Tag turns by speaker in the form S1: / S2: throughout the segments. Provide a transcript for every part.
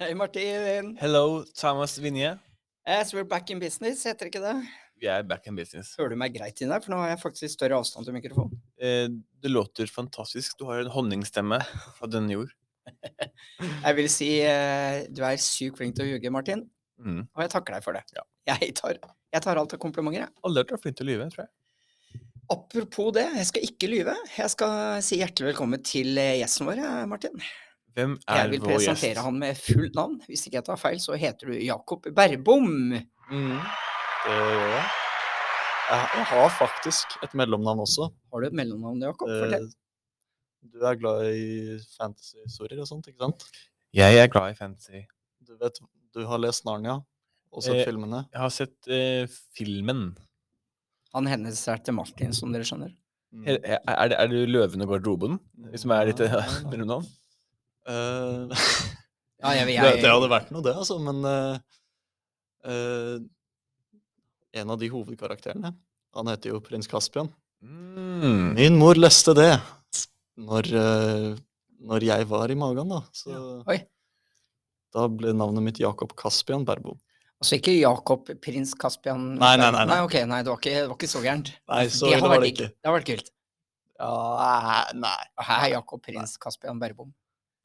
S1: Hei, Martin.
S2: Hello, Thomas Vinje.
S1: As we're back in business, heter det ikke det?
S2: Vi er back in business.
S1: Hører du meg greit inn der? For nå har jeg faktisk større avstand til mikrofonen.
S2: Eh, det låter fantastisk. Du har en honningstemme fra denne jord.
S1: Jeg vil si eh, du er sykt flink til å ljuge, Martin,
S2: Mm.
S1: og jeg takker deg for det.
S2: Ja.
S1: Jeg, tar, jeg tar alt av komplimenter, jeg.
S2: Alle har vært flinke til å lyve, tror jeg.
S1: Apropos det, jeg skal ikke lyve. Jeg skal si hjertelig velkommen til eh, gjesten vår, eh, Martin.
S2: Hvem er
S1: Jeg vil
S2: vår gjest?
S1: presentere han med fullt navn. Hvis ikke jeg tar feil, så heter du Jakob Berbom.
S2: Mm. Det gjør jeg. Jeg jeg har faktisk et mellomnavn også.
S1: Har du et mellomnavn, Jakob? Fortell.
S3: Eh, Du er glad i fantasy-historier og sånt, ikke sant?
S2: Jeg er glad i fantasy.
S3: Du vet, du har lest Narnia og sett
S2: Eh,
S3: filmene.
S2: Jeg har sett eh, filmen.
S1: Han hennes er til Martin, som dere skjønner.
S3: Mm.
S2: Er, er, er, det, er det Løven og garderoben? Som er ditt eh,
S1: Ah.
S3: Nei, nei, nei.
S2: mellomnavn?
S3: Eh,
S1: Ja, jeg,
S3: det, det hadde vært noe, det, altså, men eh, eh, En av de hovedkarakterene, han heter jo prins Caspian.
S2: Mm.
S3: Min mor leste det når, eh, når jeg var i magen, da. Så
S1: Oi.
S3: da ble navnet mitt Jakob Caspian Berbo.
S1: Altså ikke Jakob prins Kaspian
S3: Nei, nei, nei, nei.
S1: ok, nei, det var ikke, det var ikke så gærent.
S3: Nei, så
S1: det
S3: det
S1: har
S3: var
S1: vært
S3: det
S1: digg.
S3: ikke.
S1: Det har vært kult.
S3: Ja, nei.
S1: Her er Jakob prins Kaspian Berbom.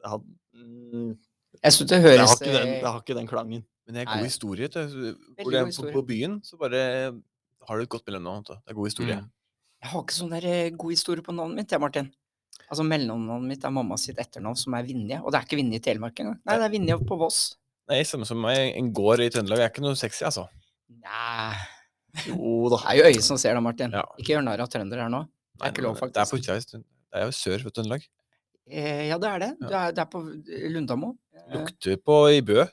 S3: Det hadde, mm,
S1: Jeg syns det
S3: det,
S1: høres eh,
S3: har ikke den, det har ikke den klangen.
S2: Men det er god
S1: Nei.
S2: historie. vet du. Hvor
S1: Veldig god
S2: det er på,
S1: historie.
S2: på byen, så bare har du et godt mellomnavn. vet du. Det er god historie.
S3: Mm.
S1: Jeg har ikke sånn der eh, god historie på navnet mitt, jeg, Martin. Altså Mellomnavnet mitt er mamma sitt etternavn, som er Vinje. Og det er ikke Vinje i Telemark engang. Nei, det er Vinje på Voss.
S2: Nei, samme liksom som meg. En gård i Trøndelag er ikke noe sexy, altså.
S1: Nei
S3: Jo da.
S1: Det er jo øyet som ser det, Martin.
S2: Ja.
S1: Ikke gjør narr av trøndere her nå. Mm. Det
S2: Nei,
S1: er ikke lov,
S2: nei, nei, Det er på
S1: faktisk.
S2: utsida i Trøn- Det er jo sør for Trøndelag.
S1: Eh, ja, det er det.
S2: Ja.
S1: Det er, det er på eh, Lundamo. Eh,
S2: Lukter på i Bø.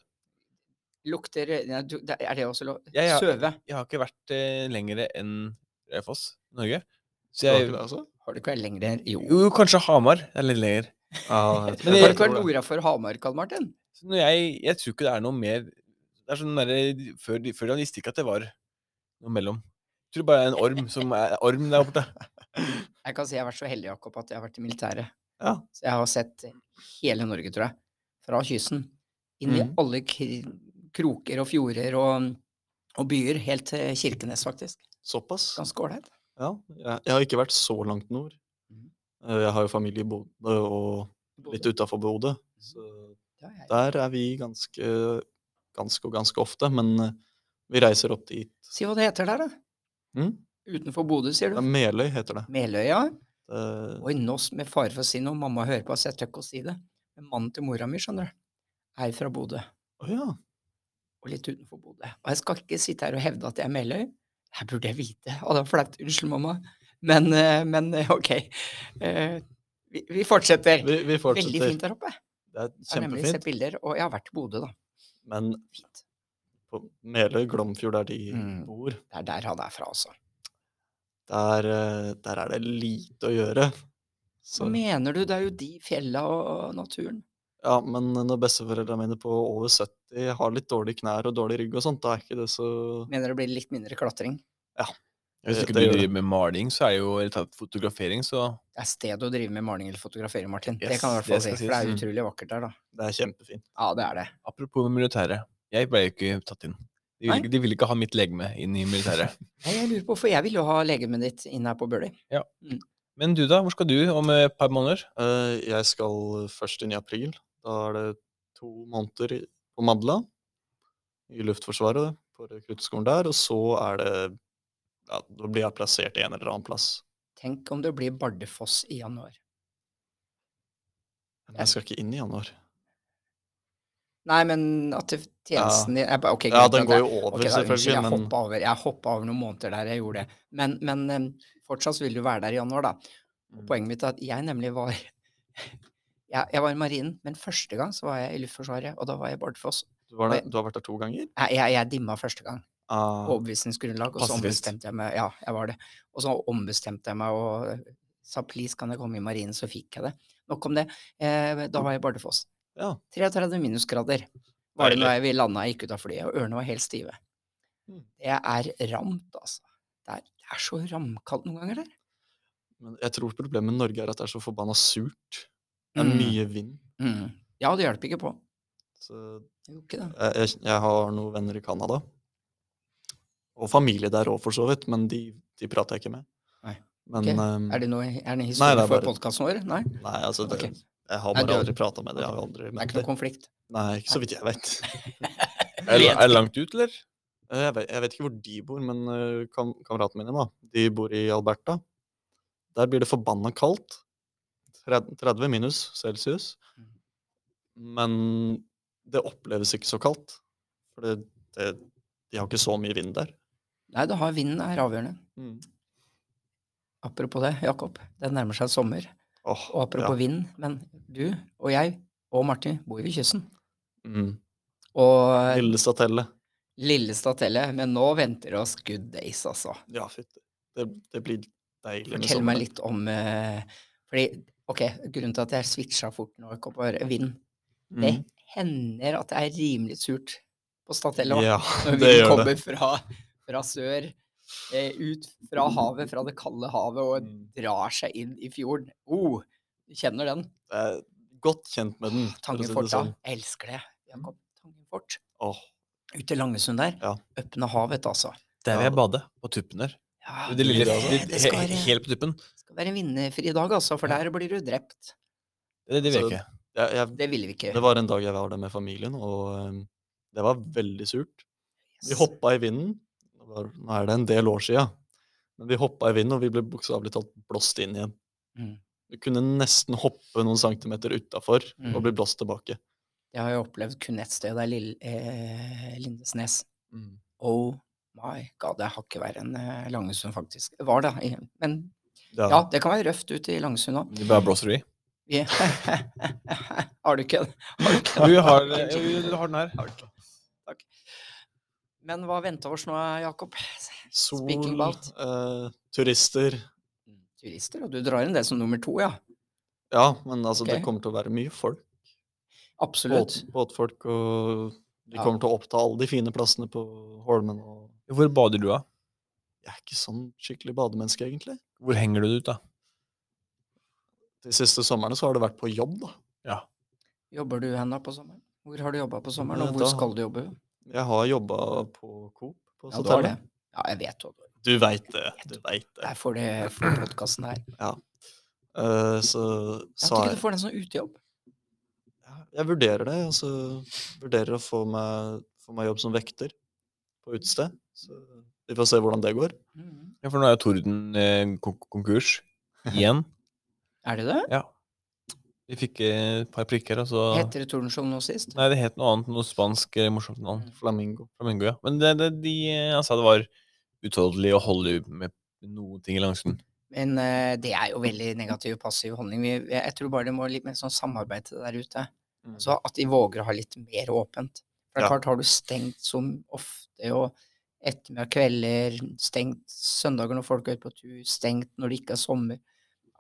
S1: lukter nei, du, det- Er det også lov?
S2: Jeg har-
S1: Søve.
S2: Jeg har ikke vært eh, lenger enn Raufoss, Norge. Så
S3: Skal
S2: jeg
S3: ikke det, altså?
S1: Har du ikke vært lenger enn Jo.
S2: Jo, kanskje Hamar er litt lenger. Men
S1: Har
S2: jeg
S1: du ikke vært nordafor Hamar, Karl Martin?
S2: Så når jeg, jeg tror ikke det er noe mer Det er sånn derre før, de- før de visste ikke at det var noe mellom. Jeg tror bare det er en orm som er orm der borte.
S1: Jeg kan si jeg har vært så heldig, Jakob, at jeg har vært i militæret.
S3: Ja.
S1: Så jeg har sett hele Norge, tror jeg. Fra kysten. Inn i
S3: Mhm.
S1: alle kri kroker og fjorder og, og byer. Helt til Kirkenes, faktisk.
S3: Såpass?
S1: Ganske ålreit.
S3: Ja. Jeg, jeg har ikke vært så langt nord.
S1: Mhm.
S3: Eh, Jeg har jo familie i Bodø og litt utafor
S1: Mhm.
S3: Bodø. Så
S1: Ja, jeg-
S3: der er vi ganske, ganske og ganske ofte. Men eh, vi reiser opp dit.
S1: Si hva det heter der, da.
S3: Mhm.
S1: Utenfor Bodø, sier
S3: Det er
S1: du. Mm.
S3: Meløy heter det.
S1: Meløya.
S3: Eh,
S1: Oi, nå s- med fare for å si noe, mamma hører på, så jeg tør ikke å si det. Men mannen til mora mi, skjønner du, er fra Bodø.
S3: Å ja.
S1: og litt utenfor Bodø. Og jeg skal ikke sitte her og hevde at jeg er Meløy. Her burde jeg vite. Å, det var flaut. Unnskyld, mamma. Men, eh, men eh, ok. Eh, Vi, vi fortsetter.
S3: Vi, vi
S1: Veldig
S3: fortsetter.
S1: fint der oppe.
S3: Det er
S1: Jeg har nemlig sett
S3: kjempefint.
S1: bilder, og jeg har vært i Bodø, da.
S3: Men
S1: Fint.
S3: på Meløy, Glomfjord, der de
S1: Mhm.
S3: bor,
S1: Det er der han er fra, altså.
S3: der, eh, der er det lite å gjøre.
S1: Så mener du, det er jo de fjella og naturen.
S3: Ja, men når besteforeldrene mine på over 70 har litt dårlige knær og dårlig rygg og sånt, da er ikke det så
S1: Mener det blir litt mindre klatring.
S2: Hvis
S3: Det-
S2: ikke
S3: det
S2: du
S3: gjør
S2: driver med maling, så er det jo eller ta- fotografering, så
S1: Det er sted å drive med maling eller fotografering, Martin. det
S2: Yes,
S1: kan jeg i hvert
S2: det
S1: fall si.
S2: skal
S1: For det er
S2: sies.
S1: utrolig vakkert der, da.
S3: Det er kjempefint.
S1: Ja, det er det.
S2: Apropos med militæret. Jeg ble jo ikke tatt inn. De ville,
S1: Nei.
S2: ikke- de ville ikke ha mitt legeme inn i militæret.
S1: Nei, jeg lurer på, for jeg vil jo ha legemet ditt inn her på Bøler.
S2: Men du, da? Hvor skal du om eh, et par måneder?
S3: Eh, Jeg skal først inn i april. Da er det to måneder i- på Madla, i Luftforsvaret, på rekruttskolen der. Og så er det Ja, da blir jeg plassert en eller annen plass.
S1: Tenk om det blir Bardufoss i januar. Mm.
S3: Men jeg skal ikke inn i januar.
S1: Nei, men at det- tjenesten din jeg bare- Ok,
S3: Ja,
S1: greit,
S3: den
S1: da,
S3: går
S1: det-
S3: jo over,
S1: ok, da, Unnskyld, jeg
S3: selvfølgelig, men
S1: hoppa over, jeg hoppet over noen måneder der jeg gjorde det. Men, men em, fortsatt vil du være der i januar, da.
S3: Mm.
S1: Og poenget mitt er at jeg nemlig var jeg, jeg var i Marinen, men første gang så var jeg i Luftforsvaret, og da var jeg i Bardufoss.
S3: du, var der, du har vært der to ganger?
S1: Jeg, jeg, jeg dimma første gang,
S3: Ah,
S1: på overbevisningsgrunnlag, og så
S2: Pasifist.
S1: ombestemte jeg meg. Ja, jeg var det. Og så ombestemte jeg meg og sa please, kan jeg komme i Marinen, så fikk jeg det. Nok om det. Eh, da var jeg i Bardufoss.
S3: Ja.
S1: 33 minusgrader var det
S3: Deilig.
S1: når vi landa og gikk ut av flyet, og ørene var helt stive.
S3: Mm.
S1: Det er ramt, altså. Det er, det er så ramkaldt noen ganger der.
S3: men jeg tror problemet med Norge er at det er så forbanna surt. Det er
S1: Mm.
S3: mye vind.
S1: Mm. Ja, det hjelper ikke på.
S3: Så
S1: Jeg gjorde ikke det.
S3: jeg, jeg, jeg har noen venner i Canada. Og familie der òg, for så vidt, men de, de prater jeg ikke med.
S1: Nei.
S3: Men
S1: Ok.
S3: ehm,
S1: Er det noe er det en
S3: Nei,
S1: historie
S3: det er
S1: for
S3: bare-
S1: podkasten vår? Nei?
S3: Nei, altså det,
S1: Ok.
S3: Jeg har
S1: Nei,
S3: bare
S1: du-
S3: aldri prata med dem. Jeg har aldri
S1: Det er
S3: møtt
S1: ikke noe
S3: dem.
S1: konflikt?
S3: Nei, ikke så vidt jeg vet.
S2: Er, det- er det langt ut, eller?
S3: Eh, Jeg vet, jeg vet ikke hvor de bor, men eh, kam kameratene mine da, de bor i Alberta. Der blir det forbanna kaldt. Tred- 30 minus celsius.
S1: Mhm.
S3: Men det oppleves ikke så kaldt. For det, det, de har ikke så mye vind der.
S1: Nei, det har vinden er avgjørende. Apropos det, Jakob. Det nærmer seg sommer.
S3: Åh,
S1: Og apropos vind, men du og jeg og Martin bor jo ved kysten.
S3: ja. mm.
S1: Og
S3: Lille Statelle.
S1: lille Statelle, men nå venter oss good days, altså.
S3: Ja, fytti. Det, det blir deilig med
S1: Fortell meg
S3: sommeren.
S1: litt om eh, Fordi, ok, grunnen til at jeg switcha fort nå, Jakob, var vind. Det
S3: Mm.
S1: hender at det er rimelig surt på Statelle òg.
S3: Ja,
S1: Når
S3: det
S1: vi
S3: gjør det.
S1: kommer fra, fra sør, eh, ut fra havet, fra det kalde havet, og
S3: Mm.
S1: drar seg inn i fjorden. Oh, du kjenner den.
S3: Jeg er godt kjent med den. for å si det
S1: Tangenforta.
S3: sånn.
S1: Jeg elsker det. Jakob, Tangenfort.
S3: Åh,
S1: Ute i Langesund der.
S3: Ja.
S1: Øppne havet, altså.
S2: Der vil
S3: Ja,
S2: jeg bade. På tuppen der.
S1: Ja,
S2: Det lille,
S1: det,
S2: det,
S1: det
S2: he,
S1: skal, være,
S2: helt på tuppen.
S1: skal være en vinnerfri dag, altså, for der blir du drept.
S2: Det, det vil
S3: Så-
S2: jeg ikke.
S3: jeg, jeg
S1: Det ville vi ikke.
S3: Det var en dag jeg var der med familien, og eh, det var veldig surt. Vi
S1: Yes.
S3: hoppa i vinden. Det var, nå er det en del år sia. Men vi hoppa i vinden, og vi ble bokstavelig talt blåst inn igjen.
S1: Mm.
S3: Vi kunne nesten hoppe noen centimeter utafor
S1: Mm.
S3: og bli blåst tilbake.
S1: Det har jeg opplevd kun ett sted, det er Lill- eh, Lindesnes.
S2: Mm.
S1: Oh my god, det har ikke vært en eh, Langesund, faktisk. Det Var det, eh, men
S3: Ja.
S1: ja, det kan være røft ute i Langesund òg.
S2: Det bare blåser du i.
S1: har du ikke en? Har du ikke en?
S2: Du har, eh, jo, du har den her.
S1: Men hva venta oss nå, Jakob?
S3: Sol,
S1: Speaking about.
S3: eh, turister
S1: Turister, og du drar inn det som nummer to, ja.
S3: Ja, men altså, det
S1: Ok.
S3: kommer til å være mye folk. Båt,
S1: Absolutt.
S3: båtfolk, og de
S1: Ja.
S3: kommer til å oppta alle de fine plassene på Holmen. Og
S2: Hvor bader du, da?
S3: jeg er ikke sånn skikkelig bademenneske, egentlig.
S2: Hvor henger du det ut, da?
S3: De siste somrene så har det vært på jobb, da.
S1: Jobber du hen da på sommeren? Hvor har du jobba på sommeren,
S3: Eh,
S1: og hvor
S3: da-
S1: skal du jobbe?
S3: Jeg har jobba på Coop. På
S1: Ja, du har det.
S3: hotellet.
S1: Ja, jeg vet hva du har.
S3: Du veit det. Du veit det.
S1: Jeg får det for podkasten her.
S3: Eh, så
S1: Jeg
S3: sa
S1: tror ikke
S3: jeg
S1: du får den som utejobb.
S3: «Ja, Jeg vurderer det. Altså, vurderer å få meg, få meg jobb som vekter på utested. Så vi får se hvordan det går.
S1: Mhm.
S2: Ja, for nå er jo Torden eh, kon- konkurs. Igjen.
S1: Er det det?
S2: Ja. Vi fikk eh, et par prikker, og så
S1: Heter det Tordenskjold nå sist?
S2: Nei, det het noe annet. Noe spansk eh, morsomt navn.
S3: Flamingo.
S2: Flamingo, ja. Men det, det, de, eh, han sa det var utholdelig å holde ut med noen ting i Langsund.
S1: Men eh, det er jo veldig negativ og passiv holdning. Vi, jeg- jeg tror bare det må litt mer sånn samarbeid til der ute.
S3: Mm.
S1: Så at de våger å ha litt mer åpent. For det er
S3: Ja.
S1: klart, har du stengt som ofte, og ettermiddag, kvelder, stengt søndager når folk er ute på tur, stengt når det ikke er sommer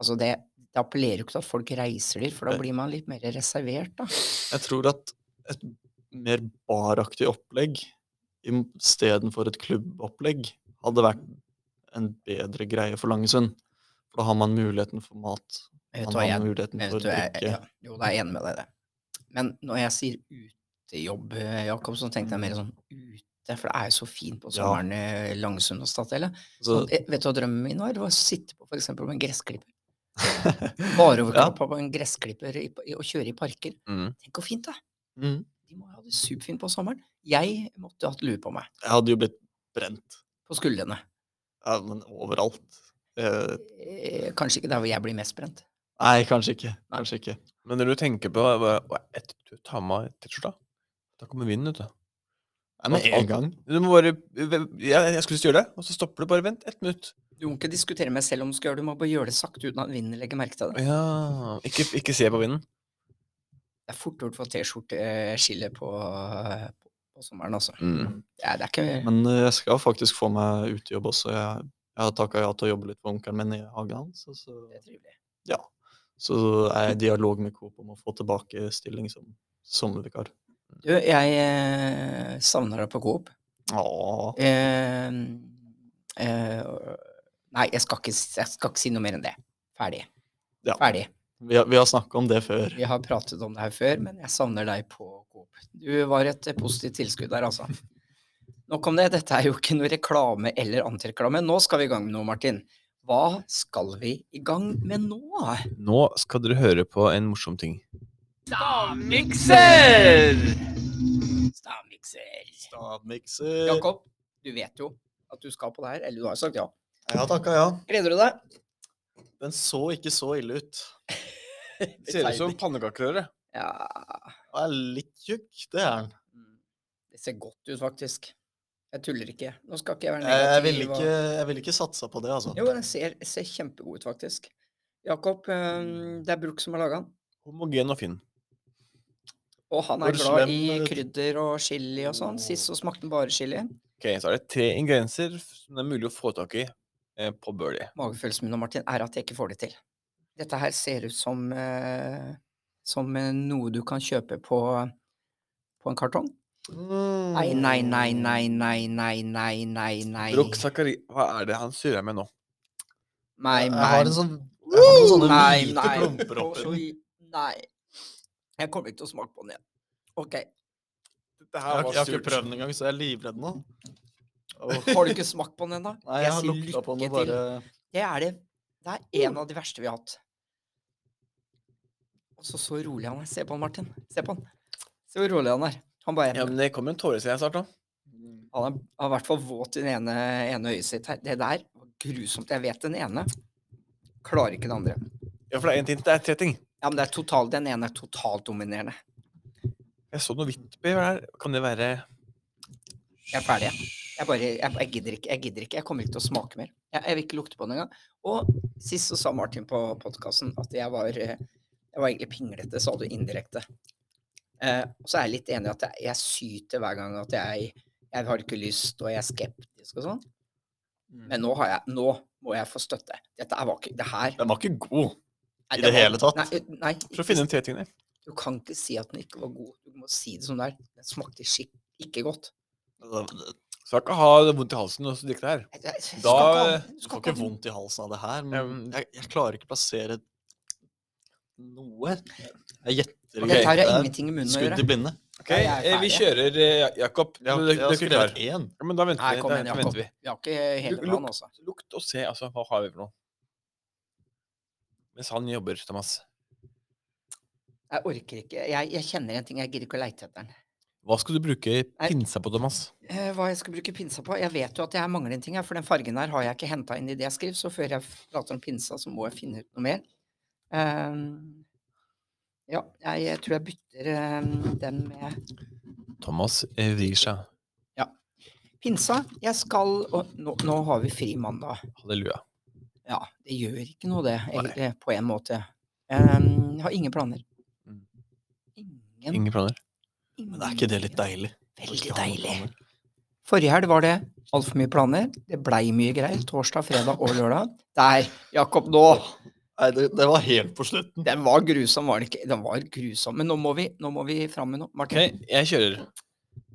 S1: Altså det, det appellerer jo ikke til at folk reiser dit, for da
S3: Nei.
S1: blir man litt mer reservert, da.
S3: Jeg tror at et mer baraktig opplegg istedenfor et klubbopplegg hadde vært en bedre greie for Langesund. For da har man muligheten for mat.
S1: Vet du
S3: Man
S1: hva,
S3: har
S1: jeg
S3: muligheten
S1: Men
S3: for
S1: vet du, jeg,
S3: drikke.
S1: ja, jo, da er jeg enig med deg i det. Men når jeg sier utejobb, eh, Jakob, så tenkte jeg mer sånn ute, for det er jo så fint på
S3: Mm. Ja.
S1: sommeren i Langesund og Stathelle.
S3: Så,
S1: eh, Vet du hva drømmen min var? Det var å sitte på for eksempel på en gressklipper. Bare overkropp på en gressklipper i, i- og kjøre i parker. Tenk hvor fint det er!
S3: mm.
S1: De må jo ha det superfint på sommeren. Jeg måtte jo hatt lue på meg.
S3: Jeg hadde jo blitt brent.
S1: På skuldrene.
S3: Ja, men overalt. Eh,
S1: Eh, Kanskje ikke der hvor jeg blir mest brent.
S3: nei, kanskje ikke. Kanskje ikke.
S2: Men når du tenker på hva- hva- et- du tar med deg T-skjorta, da kommer vinden, vet du.
S3: Nei, med
S2: Alt- alt.
S3: en gang.
S2: Du må bare jeg, jeg skulle gjøre det, og så stopper du. Bare vent ett minutt.
S1: Du må ikke diskutere med selv om du skal gjøre det, du må bare gjøre det sakte uten at vinden legger merke til det.
S2: Ja Ikke, ikke se på vinden.
S1: Det er fort gjort for T-skjorteskille på, eh, på, på sommeren, altså.
S2: Mm.
S1: Det er, det er ikke
S3: Men eh, jeg skal faktisk få meg utejobb også. Jeg, jeg har takka ja til å jobbe litt for onkelen min i hagen hans. Og så,
S1: det er trivelig.
S3: så er jeg i dialog med Coop om å få tilbake stilling som sommervikar.
S1: Du, jeg eh, savner deg på Coop.
S3: Åh,
S1: Eh, eh, nei, jeg skal, ikke, s- jeg skal ikke si noe mer enn det. Ferdig.
S3: Ja.
S1: Ferdig.
S3: Vi har, vi har snakka om det før.
S1: Vi har pratet om det her før, men jeg savner deg på Coop. håp. Du var et eh, positivt tilskudd der, altså. Nok om det. Dette er jo ikke noe reklame eller antireklame. Nå skal vi i gang med noe, Martin. Hva skal vi i gang med nå?
S2: Nå skal dere høre på en morsom ting.
S1: Stavmikser! Stavmikser.
S3: Stavmikser.
S1: Jakob, du vet jo at du skal på det her. Eller du har jo sagt ja.
S3: Ja takka, ja.
S1: Gleder du deg?
S3: Den så ikke så ille ut.
S2: Ser ut som pannekakerøre.
S1: Ja.
S3: Den er litt tjukk, det er den.
S1: mm. Det ser godt ut, faktisk. Jeg tuller ikke. Nå skal ikke jeg være
S3: Jeg,
S1: negativ.
S3: jeg ville
S1: og-
S3: ikke, jeg ville ikke satsa på det, altså.
S1: Jo, den ser, ser kjempegod ut, faktisk. Jakob, eh,
S3: Mm.
S1: det er Bruk som har laga den.
S2: Homogen og fin.
S1: Og han er
S3: Hvor
S1: glad
S3: slem,
S1: i
S3: eh,
S1: krydder og chili og sånn. Sist så smakte han bare chili.
S2: Ok, Så er det tre ingredienser som det er mulig å få tak i eh, på Burley.
S1: Magefølelsen min og Martin er at jeg ikke får det til. Dette her ser ut som, eh, som eh, noe du kan kjøpe på, på en kartong.
S3: Mm.
S1: Nei, nei, nei, nei, nei, nei, nei, nei, nei.
S2: Brokk Zakari... Hva er det han surrer med nå?
S1: Nei,
S3: Jeg
S1: nei.
S3: har en sånn jeg har noen sånne
S1: Nei,
S3: hvite
S1: nei.
S3: klumper oppi.
S1: Oi, Nei. Jeg kommer ikke til å smake på den igjen. Ok.
S2: Dette
S3: Jeg har, jeg har ikke prøvd den engang, så jeg er livredd nå. Åh.
S1: Har du ikke smakt på den ennå?
S3: Nei, jeg har lukta på den og bare Mm.
S1: Det er det. Det er en av de verste vi har hatt. Og så så rolig han er. Se på han, Martin. Se på han. Se hvor rolig han er. Han bare
S2: Ja, men Det kommer en tåre til deg snart. da.
S1: Han er, han er i hvert fall våt i det ene, ene øyet sitt her. Det der var grusomt. Jeg vet den ene. Klarer ikke den andre.
S2: Ja, for Det er en ting, det er tre ting.
S1: Ja, men det er total, Den ene er totalt dominerende.
S2: Jeg så noe hvitt oppi her. Kan det være
S1: Jeg er ferdig, jeg. Jeg bare, jeg, jeg gidder ikke. Jeg gidder ikke. Jeg kommer ikke til å smake mer. Jeg, jeg vil ikke lukte på den engang. Og sist så sa Martin på podkasten at jeg var, eh, jeg var egentlig pinglete, sa du indirekte. Eh, og så er jeg litt enig i at jeg, jeg syter hver gang at jeg, jeg har ikke lyst, og jeg er skeptisk og sånn.
S3: Mm.
S1: Men nå, har jeg, nå må jeg få støtte. Dette er vakkert. Det her
S3: Den var ikke god.
S1: Nei,
S3: I
S1: den
S3: det
S1: var-
S3: hele tatt.
S1: Nei, eh, nei
S2: For å
S1: ikke-
S2: finne de tre tingene.
S1: du kan ikke si at den ikke var god. Du må si det som det er. Den smakte skikk ikke godt.
S3: Altså,
S2: Skal ikke ha det vondt i halsen og så drikke det her.
S1: Jeg- jeg- jeg skal
S2: Da-
S1: ikke ha-
S3: eh,
S1: skal
S3: Du får
S1: ikke
S3: ikke
S1: ha den.
S3: vondt i halsen av det her,
S2: Ja,
S3: men
S2: men-
S3: jeg, jeg klarer ikke plassere noe. Jeg gjetter
S1: Dette her har
S3: Det er
S1: ingenting i munnen å
S3: Skudd i
S1: gjøre.
S3: blinde.
S2: Ok,
S1: Nei, jeg er
S2: eh, Vi
S1: ferdig.
S2: kjører eh, Ja- Jakob.
S3: Jeg har,
S2: Du- du-
S3: jeg har
S2: du er ikke klar.
S3: skrevet én.
S2: Ja, men da venter
S1: Nei,
S2: vi.
S1: kom
S2: Da
S1: igjen,
S2: da
S1: Jakob.
S2: venter vi.
S1: Vi har ikke hele
S2: Luk-
S1: planen,
S2: luk-
S1: altså.
S2: Lukt og se, altså. Hva har vi for noe? Mens han jobber, Thomas.
S1: Jeg orker ikke. Jeg, jeg kjenner en ting. Jeg gidder ikke å leite etter den.
S2: Hva skal du bruke
S1: Nei.
S2: pinsa på, Thomas?
S1: Eh, hva jeg skal bruke pinsa på? Jeg vet jo at jeg mangler en ting, her, for den fargen her har jeg ikke henta inn i det jeg skriver, så før jeg prater om pinsa, så må jeg finne ut noe mer. Ehm, ja, jeg, jeg tror jeg bytter ehm, den med
S2: Thomas eh, vrir seg.
S1: Pinsa, jeg skal og nå, nå har vi fri mandag.
S2: Halleluja.
S1: Ja, det gjør ikke noe det, egentlig, på en måte. Em, har ingen planer.
S2: Mm.
S1: Ingen,
S2: Ingen planer.
S3: Men er ikke det litt deilig? Å
S1: Veldig
S3: ikke ha noen
S1: deilig.
S3: planer.
S1: Forrige helg var det altfor mye planer. Det blei mye greier. Torsdag, fredag og lørdag. Der, Jakob, nå!
S3: Nei, det, det var helt på slutten.
S1: Den var grusom, var det ikke? Den var grusom. Men nå må vi, nå må vi fram med noe.
S2: Ok,
S1: Martin.
S2: jeg kjører.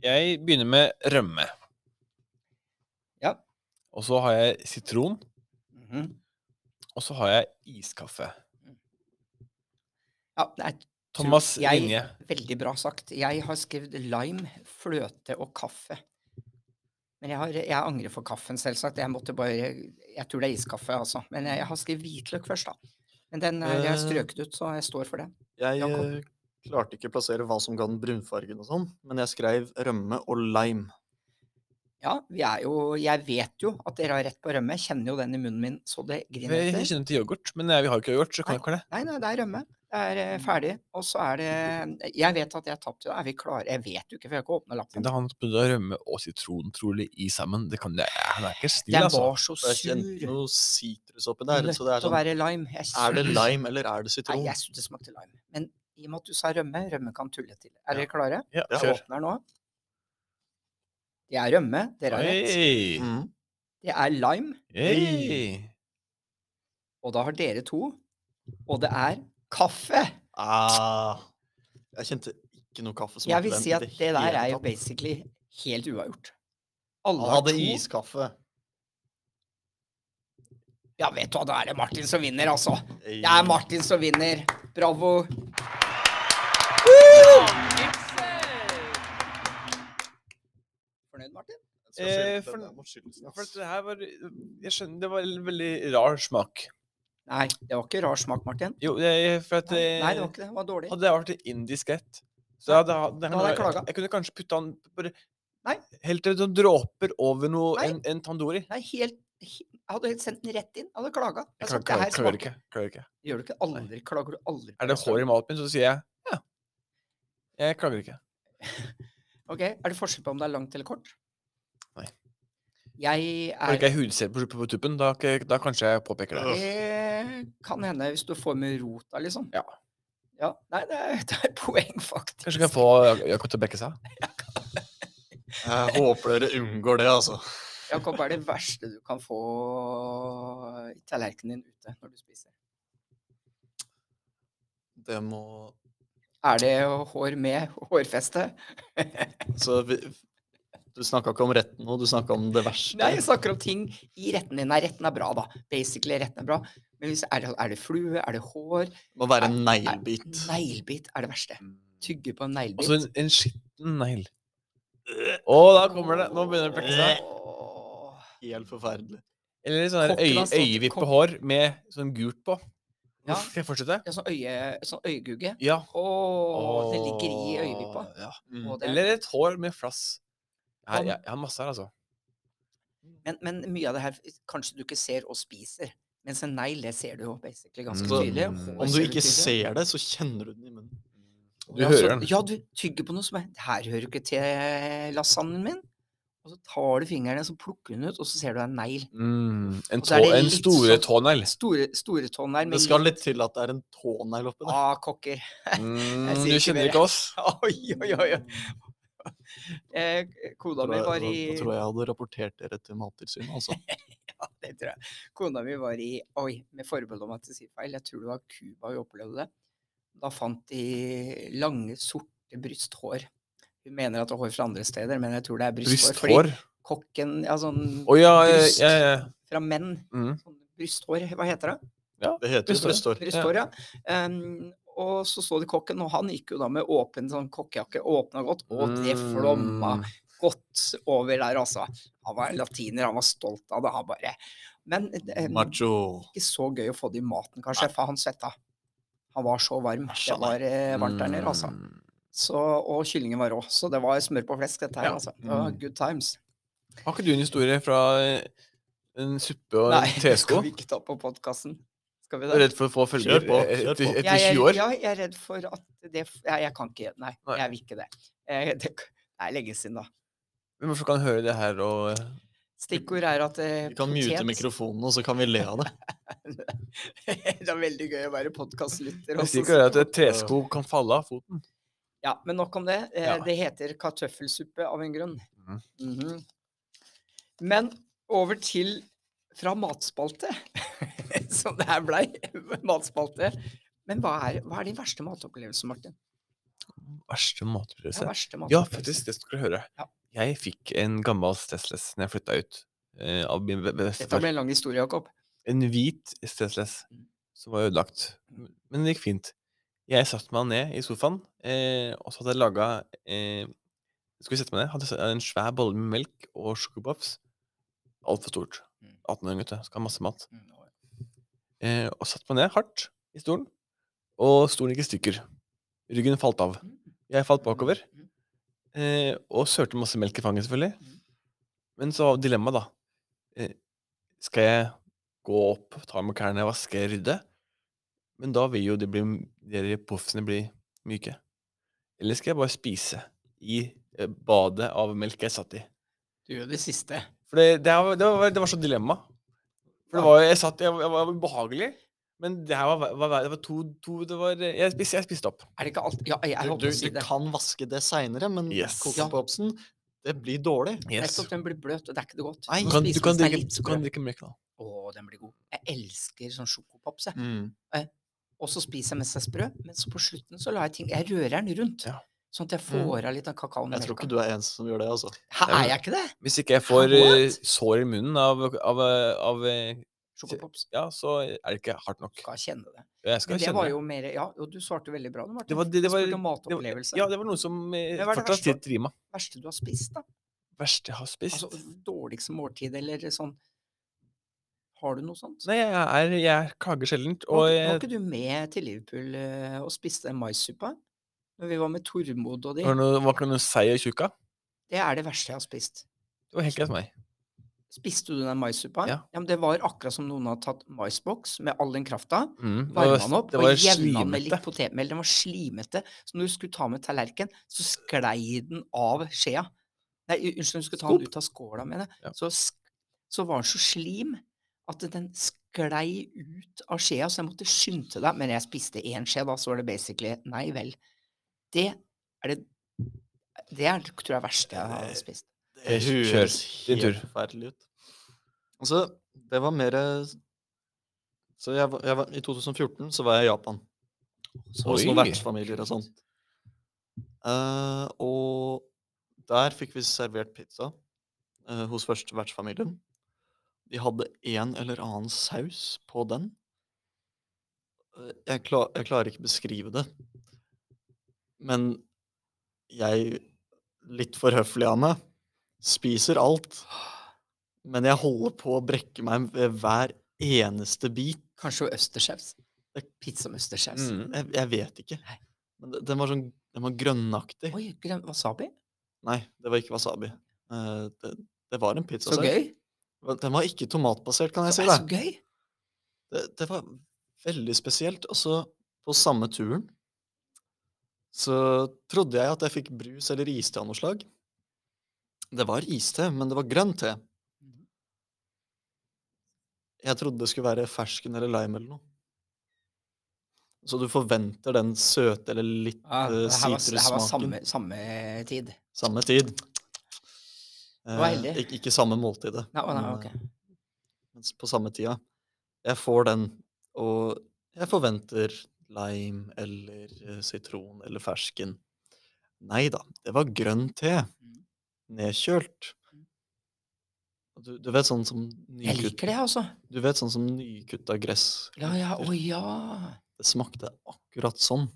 S2: Jeg begynner med rømme.
S1: Ja.
S2: Og så har jeg sitron.
S1: Mhm.
S2: Og så har jeg iskaffe.
S1: Ja, det er
S2: Thomas
S1: jeg-
S2: linje.
S1: veldig bra sagt. Jeg har skrevet lime, fløte og kaffe. Men jeg, har, jeg angrer for kaffen, selvsagt. Jeg måtte bare Jeg tror det er iskaffe, altså. Men jeg, jeg har skrevet hvitløk først, da. Men den er, jeg har
S3: Eh.
S1: strøket ut, så jeg står for det.
S3: Jeg
S1: Jakob.
S3: eh, klarte ikke å plassere hva som ga den brunfargen og sånn, men jeg skrev rømme og lime.
S1: Ja, vi er jo Jeg vet jo at dere har rett på rømme. Jeg kjenner jo den i munnen min så det griner
S2: Jeg
S1: etter.
S2: kjenner til yoghurt, men eh, vi har ikke yoghurt, så kan jeg ikke ha det.
S1: Nei, nei, det er rømme. Det er
S3: Mm.
S1: eh, ferdig. Og så er det Jeg vet at jeg har tapt i dag. Er vi klare? Jeg vet jo ikke, for jeg har ikke åpna lappen.
S2: Da han prøvde å rømme og sitron trolig i sammen. Det kan jeg, han er ikke snill,
S1: Den
S2: altså.
S1: var så
S3: Og jeg kjente
S1: sur.
S3: noe sitrus oppi der. Så det er
S1: Nødt å
S3: sånn
S1: være lime. Jeg
S3: Er det lime eller er det
S1: Nei,
S3: sitron?
S1: jeg syns det smakte lime. Men i og med at du sa rømme, rømme kan tulle til. Er
S2: Ja.
S1: dere klare?
S2: Ja,
S3: Ja.
S1: Jeg
S2: kjør.
S1: åpner nå. Det er rømme, dere har rett.
S2: Hei!
S3: Mm.
S1: Det er lime,
S2: Hei!
S1: og da har dere to. Og det er kaffe!
S3: Ah, jeg kjente ikke noe kaffesmak.
S1: Jeg
S3: i
S1: vil
S3: den
S1: si
S3: i
S1: at det der
S3: hele
S1: er jo
S3: tatt.
S1: basically helt uavgjort. Alle
S3: Han
S1: har
S3: hadde
S1: to.
S3: iskaffe.
S1: Ja, vet du hva, da er det Martin som vinner, altså. Det er Martin som vinner. Bravo. Woo! fornøyd, Martin?
S2: Eh,
S3: Spesielt
S2: for-
S3: den der morskydelsen,
S2: Ja,
S3: ass.
S2: for at det her var Jeg skjønner, det var en veldig rar smak.
S1: Nei, det var ikke rar smak, Martin.
S2: Jo, det, for at
S1: Nei, nei, det
S2: eh,
S1: var ikke det. Det var dårlig.
S2: Hadde det vært indisk rett, så hadde, hadde,
S1: Da hadde jeg
S2: jeg,
S1: klaga.
S2: jeg kunne kanskje putta den bare
S1: Nei.
S2: Helt til sånn dråper over noe,
S1: Nei.
S2: en, en tandoori.
S1: Nei, helt, he- jeg hadde sendt den rett inn. Jeg hadde klaga. Jeg
S2: Jeg
S1: sa
S2: kan-
S1: at det
S2: klarer
S1: her smaker
S2: ikke. klarer ikke.
S1: Gjør du ikke aldri? Klager du aldri? på
S2: Er det hår
S1: restaurant?
S2: i maten min, så sier jeg ja. Jeg klager ikke.
S1: Ok, Er det forskjell på om det er langt eller kort?
S2: Nei.
S1: Jeg
S2: Når
S1: er
S2: ikke jeg hudser på, på tuppen, da, k- da kanskje jeg påpeker det.
S1: Det kan hende hvis du får med rota, liksom.
S2: Ja.
S1: Ja, Nei, det er, det er poeng, faktisk.
S2: Kanskje kan jeg få Jak- Jakob til å bekke seg?
S3: Jeg håper dere unngår det, altså.
S1: Jakob, hva er det verste du kan få i tallerkenen din ute når du spiser?
S3: Det må
S1: Er det hår med hårfeste?
S3: Så vi, du snakka ikke om retten nå, du snakka om det verste.
S1: Nei, jeg snakker om ting i retten din. Nei, retten er bra, da. Basically, retten er bra. Men hvis, er, det, er det flue? Er det hår?
S3: det må være en neglebit.
S1: Neglebit er det verste. Tygge på en
S2: Og så
S1: neglebit.
S2: en, en skitten negl. Å, da kommer det! Nå begynner det å plekke seg.
S1: Åh.
S3: Helt forferdelig.
S2: Eller sånn her
S1: Kokken
S2: øye,
S1: har stått-
S2: øyevippehår med sånn gult på.
S1: Ja.
S2: Skal jeg fortsette?
S1: Ja, sånn, øye, sånn øyegugge.
S2: Ja.
S1: Å, det ligger i øyevippa.
S2: Åh, Ja.
S3: Mm.
S1: Og det-
S2: Eller et hår med flass. Jeg har,
S1: Om-
S2: jeg, jeg har masse her, altså.
S1: Men, men mye av det her kanskje du ikke ser og spiser. Mens en negl, det ser du jo basically ganske
S2: Så-
S1: tydelig.
S2: Mm.
S1: hår
S3: Om du
S1: ser
S3: ikke
S1: tydelig.
S3: ser det, så kjenner du den i munnen.
S2: Du
S1: Ja,
S2: hører
S1: så-
S2: den.
S1: Ja, du tygger på noe som er Her hører du ikke til lasagnen min. Og så tar du fingrene, så plukker du den ut, og så ser du en negl.
S2: Mm, En,
S1: Og så er
S2: tå,
S1: det
S2: en
S1: litt
S2: store
S1: sånn-
S2: tånegl.
S1: Store, store tånegl med
S3: Det skal litt til at det er en tånegl oppi der.
S1: Ah, kokker.
S2: Mm,
S1: sier
S2: du
S1: ikke
S2: kjenner
S1: mer.
S2: ikke oss?
S1: Oi, oi, oi. oi. Eh, kona
S3: Da
S1: mi var
S3: tror jeg- da
S1: i
S3: tror jeg jeg hadde rapportert dere til Mattilsynet, altså.
S1: Ja, det tror jeg. Kona mi var i Oi, med forbehold om at jeg sier feil, jeg tror det var Cuba vi opplevde det. Da fant de lange, sorte brysthår. Hun mener at det er hår fra andre steder, men jeg tror det er brysthår.
S2: Brysthår?
S1: Fordi kokken Ja, sånn
S2: Å ja, ja,
S1: Bryst.
S2: ja, ja.
S1: fra menn.
S2: Mm.
S1: Sånn brysthår, hva heter det?
S3: Det heter jo brysthår.
S1: Brysthår, ja. Em, og så så de kokken, og han gikk jo da med åpen sånn kokkejakke, åpna godt, og det flomma
S2: Mm.
S1: godt over der, altså. Han var latiner, han var stolt av det, han bare. Men eh, em,
S3: Macho.
S1: ikke så gøy å få det i maten, kanskje, for han svetta. Han var så varm. Det var eh, varmt der nede, altså.
S2: Mm.
S1: Så, og kyllingen var rå. Så det var smør på flesk, dette her,
S2: Ja.
S1: altså. Det var
S3: Mm.
S1: good times.
S2: Har ikke du en historie fra eh, en suppe og
S1: Nei,
S2: en
S1: det skal
S2: tesko?
S1: vi ikke ta på podkasten. Skal vi
S2: Du er
S1: det?
S2: redd for å få følger
S3: Kjør på,
S2: eh,
S3: kjør
S2: etter,
S3: på.
S2: etter
S1: Jeg er,
S2: 20 år?
S1: ja, jeg er redd for at det f- Nei, jeg kan ikke Nei,
S2: Nei.
S1: jeg vil ikke det. Eh, det k- det er lenge siden, da.
S2: Men Hvorfor kan han høre det her og eh,
S1: Stikkord er at eh,
S3: Vi kan mute mikrofonen, og så kan vi le av det.
S1: Det er veldig gøy å være podkastlytter.
S2: Jeg
S1: også,
S2: sier ikke
S1: så-
S2: at et tresko kan falle av foten.
S1: Ja, men nok om det. Eh,
S2: Ja.
S1: Det heter kartøffelsuppe av en grunn.
S2: Mhm.
S1: Mhm. Men over til fra matspalte, som det her blei. matspalte. Men hva er, hva er din verste matopplevelsen, Martin?
S2: Verste
S1: Ja,
S2: matopplevelse.
S1: verste
S2: Ja,
S1: matopplevelse.
S2: faktisk. Det skulle du høre.
S1: Ja.
S2: Jeg fikk en gammel Stessless når jeg flytta ut eh, av min be-
S1: Dette
S2: bestefar.
S1: ble en lang historie, Jakob.
S2: En hvit Stessless
S1: Mm.
S2: som var ødelagt. Men det gikk fint. Jeg satte meg ned i sofaen, eh, og så hadde jeg laga eh, Skal vi sette meg ned? Hadde jeg en svær bolle med melk og sjokopuffs. Altfor stort.
S1: Mm.
S2: 18-åring, gutte. Skal ha masse mat.
S1: Mm, og-
S2: Eh, og satte meg ned hardt i stolen, og stolen gikk i stykker. Ryggen falt av.
S1: Mm.
S2: Jeg falt bakover.
S1: Mm.
S2: Eh, og sølte masse melk i fanget, selvfølgelig.
S1: Mm.
S2: Men så var dilemmaet, da. Eh, skal jeg gå opp, ta med klærne, vaske, rydde? Men da vil jo de, bli, de poffene bli myke. Eller skal jeg bare spise i eh, badet av melk jeg satt i?
S1: Du gjør det siste.
S2: For det, det, var, det, var, det var så dilemma. For det var, jo- jeg satt, jeg, jeg var ubehagelig. Men det her var, ver- var, ver- det var to, to det var, eh, jeg, spiste, jeg spiste opp.
S1: Er det ikke alt Ja, jeg, jeg
S3: Du,
S1: holdt på
S3: du,
S1: å si
S3: du
S1: det.
S3: kan vaske det seinere, men
S2: Yes.
S3: kokepopsen, det blir dårlig.
S2: Yes.
S1: Nettopp, den blir bløt, og det er ikke det godt.
S3: Nei,
S2: Du kan, du,
S1: Spis
S2: kan
S1: mens den er
S2: drikke,
S1: litt
S2: du kan
S1: sprø.
S2: drikke melk, da.
S1: Å, den blir god. Jeg elsker sånn sjokopops, jeg.
S3: Mm.
S1: og så spiser jeg mens jeg er sprø, men så på slutten så lar jeg ting Jeg rører den rundt,
S2: Ja. Mm.
S1: sånn at jeg får av litt av kakaoen i
S3: Jeg tror
S1: melka.
S3: ikke du er eneste som gjør det, altså.
S1: Hæ, er jeg ikke det?
S2: Hvis ikke jeg får
S1: What?
S2: eh, sår i munnen av, av, eh, av eh,
S1: Sjokopops.
S2: Ja, så er det ikke hardt nok.
S1: Skal kjenne det.
S2: Jeg skal
S1: Men det
S2: kjenne
S1: var
S2: det.
S1: jo mer Ja, og du svarte veldig bra nå, Martin.
S2: Det var, det, det
S1: Jeg
S2: var,
S1: spurte om
S2: det var,
S1: matopplevelse.
S2: ja, det var noe som
S1: Men
S2: eh,
S1: hva er det
S2: fortsatt
S1: verste?
S2: sitter i meg.
S1: Verste du har spist, da?
S2: verste jeg har spist?
S1: Altså, dårligste måltid, eller sånn Har du noe sånt?
S2: Nei, jeg, er, jeg kager sjeldent.
S1: Var,
S2: Og
S1: ikke- var
S2: jeg,
S1: ikke du med til Liverpool eh, og spiste den maissuppa? Når vi var med Tormod og de.
S2: var det noe, var ikke noe seig og tjukk av?
S1: Det er det verste jeg har spist.
S2: Det var helt greit for meg.
S1: Spiste du den maissuppa?
S2: Ja.
S1: men det var akkurat som noen hadde tatt maisboks med all den krafta,
S2: Mm, det var-
S1: varma den opp
S2: det
S1: og
S2: var
S1: jevna den med
S2: slimete.
S1: litt potetmel. Den var slimete. Så når du skulle ta med tallerken, så sklei den av skjea. Nei, u- unnskyld, når du skulle ta
S2: Skål.
S1: den ut av skåla, mener jeg.
S2: Ja.
S1: Så, sk- så var den så slim at den sklei ut av skjea, så jeg måtte skynde deg. Men jeg spiste én skje, da, så var det basically Nei vel. Det er det Det er, tror jeg er det verste jeg har spist.
S2: Eh,
S3: Det
S2: kjør.
S3: høres
S2: Din
S3: helt
S2: tur.
S3: forferdelig ut. Altså, det var mer Så jeg, var- jeg var, i 2014 så var jeg i Japan. Så Hos noen
S2: Oi.
S3: vertsfamilier og sånt. Eh, og der fikk vi servert pizza eh, hos først vertsfamilien. De hadde en eller annen saus på den. Eh, Jeg, kla- jeg klarer ikke beskrive det. Men jeg, litt for høflig av meg, spiser alt. Men jeg holder på å brekke meg ved hver eneste bit.
S1: Kanskje østerssaus?
S3: Det-
S1: Pizza med østerssaus.
S2: Mm.
S3: Jeg, jeg vet ikke. Men det- den var sånn den var grønnaktig.
S1: Oi, grønn wasabi?
S3: Nei, det var ikke wasabi. Eh, det, det var en pizza.
S1: Så gøy!
S3: Den var ikke tomatbasert, kan jeg
S1: Så,
S3: si.
S1: er
S3: da.
S1: så gøy!
S3: Det, det var veldig spesielt. Og så på samme turen så trodde jeg at jeg fikk brus eller iste av noe slag. Det var iste, men det var grønn te.
S1: Mhm.
S3: Jeg trodde det skulle være fersken eller lime eller noe. Så du forventer den søte eller litt
S1: Ja,
S3: eh,
S1: det her var, det her var
S3: sitrussmaken
S1: samme, samme tid.
S3: samme tid.
S1: var
S3: Eh,
S1: heldig.
S3: ikke, ikke samme måltidet.
S1: Nei, å, nei,
S3: men, eh,
S1: ok.
S3: mens på samme tida. Jeg får den, og jeg forventer lime eller eh, sitron eller fersken. Nei da, det var grønn te.
S1: Mm.
S3: Nedkjølt. Og Du, du vet sånn som
S1: Jeg liker det,
S3: nykutta,
S1: altså.
S3: du vet sånn som nykutta gress
S1: Ja, ja,
S3: lukter.
S1: å ja.
S3: Det smakte akkurat sånn.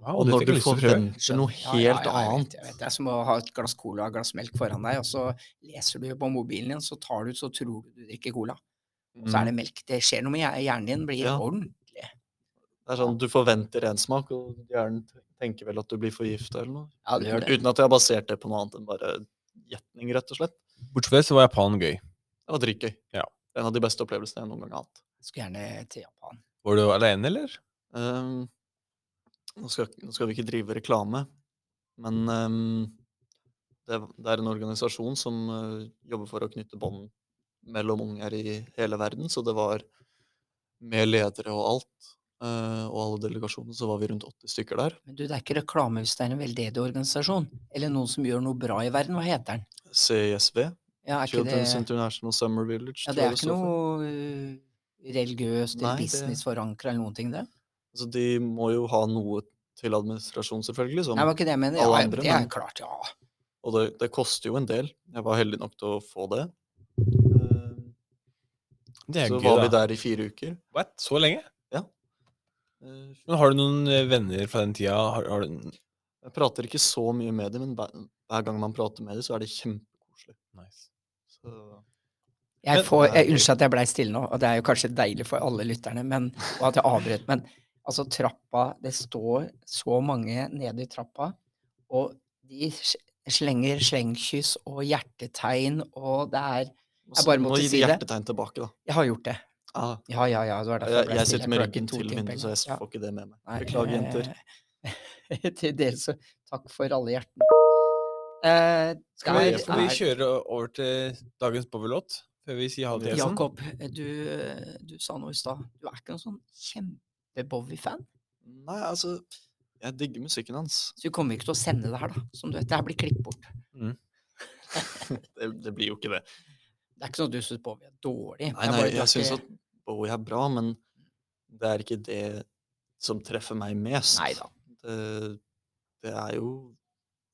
S2: Wow,
S3: Og
S2: det
S3: når
S2: fikk
S3: du
S2: jeg lyst til å prøve.
S3: forventer noe
S1: Ja, ja,
S3: helt
S1: ja, jeg vet,
S3: annet
S1: Jeg vet, det er som å ha et glass cola og et glass melk foran deg, og så leser du på mobilen din, så tar du ut, så tror du du drikker cola. Og så
S3: Mm.
S1: er det melk. Det skjer noe med hjer- hjernen din. Blir
S3: Ja.
S1: ordentlig.
S3: Det er sånn, Du forventer en smak, og hjernen tenker vel at du blir forgifta eller noe.
S1: Ja, det gjør det.
S3: Uten at jeg har basert det på noe annet enn bare gjetning, rett og slett.
S2: Bortsett fra det så var Japan gøy.
S3: Det var dritgøy.
S2: Ja.
S3: En av de beste opplevelsene jeg noen gang har hatt.
S1: Skulle gjerne til Japan.
S2: Var du alene, eller?
S3: Ehm, nå, skal, ikke- nå skal vi ikke drive reklame, men
S1: Mm.
S3: ehm, det, er- det er en organisasjon som eh, jobber for å knytte bånd mellom unger i hele verden, så det var med ledere og alt, eh, og alle delegasjoner, så var vi rundt 80 stykker der.
S1: Men du, det er ikke reklame hvis det er en veldedig organisasjon. Eller noen som gjør noe bra i verden. Hva heter den?
S3: CISV,
S1: Ja, er ikke det
S3: Children's International Summer Village.
S1: Ja,
S3: tror
S1: det
S3: jeg
S1: er ikke
S3: står for.
S1: noe eh, religiøst
S3: Nei,
S1: eller
S3: det-
S1: businessforankra eller noen ting, det.
S3: Altså, de må jo ha noe til administrasjon, selvfølgelig, som,
S1: Nei, det var ikke det jeg mener.
S3: alle
S1: Ja,
S3: andre,
S1: det er
S3: men-
S1: klart, ja.
S3: og det, det koster jo en del. Jeg var heldig nok til å få det. Ehm,
S2: Det er
S3: så
S2: gøy,
S3: var
S2: da.
S3: vi der i fire uker.
S2: What? Så lenge?
S3: Eh,
S2: Men har du noen eh, venner fra den tida? Har, har du...
S3: Jeg prater ikke så mye med dem, men hver, hver gang man prater med dem, så er det kjempekoselig.
S2: Nice.
S3: Så
S1: Jeg
S2: Men-
S1: får, jeg,
S3: Nei.
S1: unnskyld at jeg blei stille nå, og det er jo kanskje deilig for alle lytterne, men, og at jeg avbrøt, men altså, trappa Det står så mange nede i trappa, og de s- slenger slengkyss og hjertetegn, og det er
S3: Og
S1: Jeg
S3: så-
S1: bare
S3: nå
S1: måtte
S3: gir
S1: si
S3: de
S1: det.
S3: hjertetegn tilbake, da.
S1: Jeg har gjort det.
S3: Ah,
S1: Ja, ja, ja. Det var derfor
S3: jeg,
S1: ble stille.
S3: jeg sitter med
S1: klarte ikke
S3: ryggen
S1: to
S3: til
S1: timer
S3: vinduet, så
S1: engang.
S3: jeg
S1: Ja.
S3: får ikke det med meg.
S1: Nei,
S3: Beklager, jenter.
S1: eh, til dere, så takk for alle hjertene. Eh,
S2: Skal vi,
S1: der
S2: skal vi
S1: er-
S2: kjøre over til dagens bowlelåt før vi sier ha
S3: sånn?
S2: det til Jensen?
S1: Jakob, du, eh, du sa noe i stad. Du er ikke noen sånn kjempe-Bowie-fan.
S3: Nei, altså, jeg digger musikken hans.
S1: Så vi kommer ikke til å sende det her, da. Som du vet, det her blir klippet bort.
S3: Det, det blir jo ikke det.
S1: Det er ikke sånn at du syns Bowie er dårlig.
S3: Nei, nei, jeg syns at Bowie er bra, men det er ikke det som treffer meg mest.
S1: Nei da.
S3: Det, eh, det er jo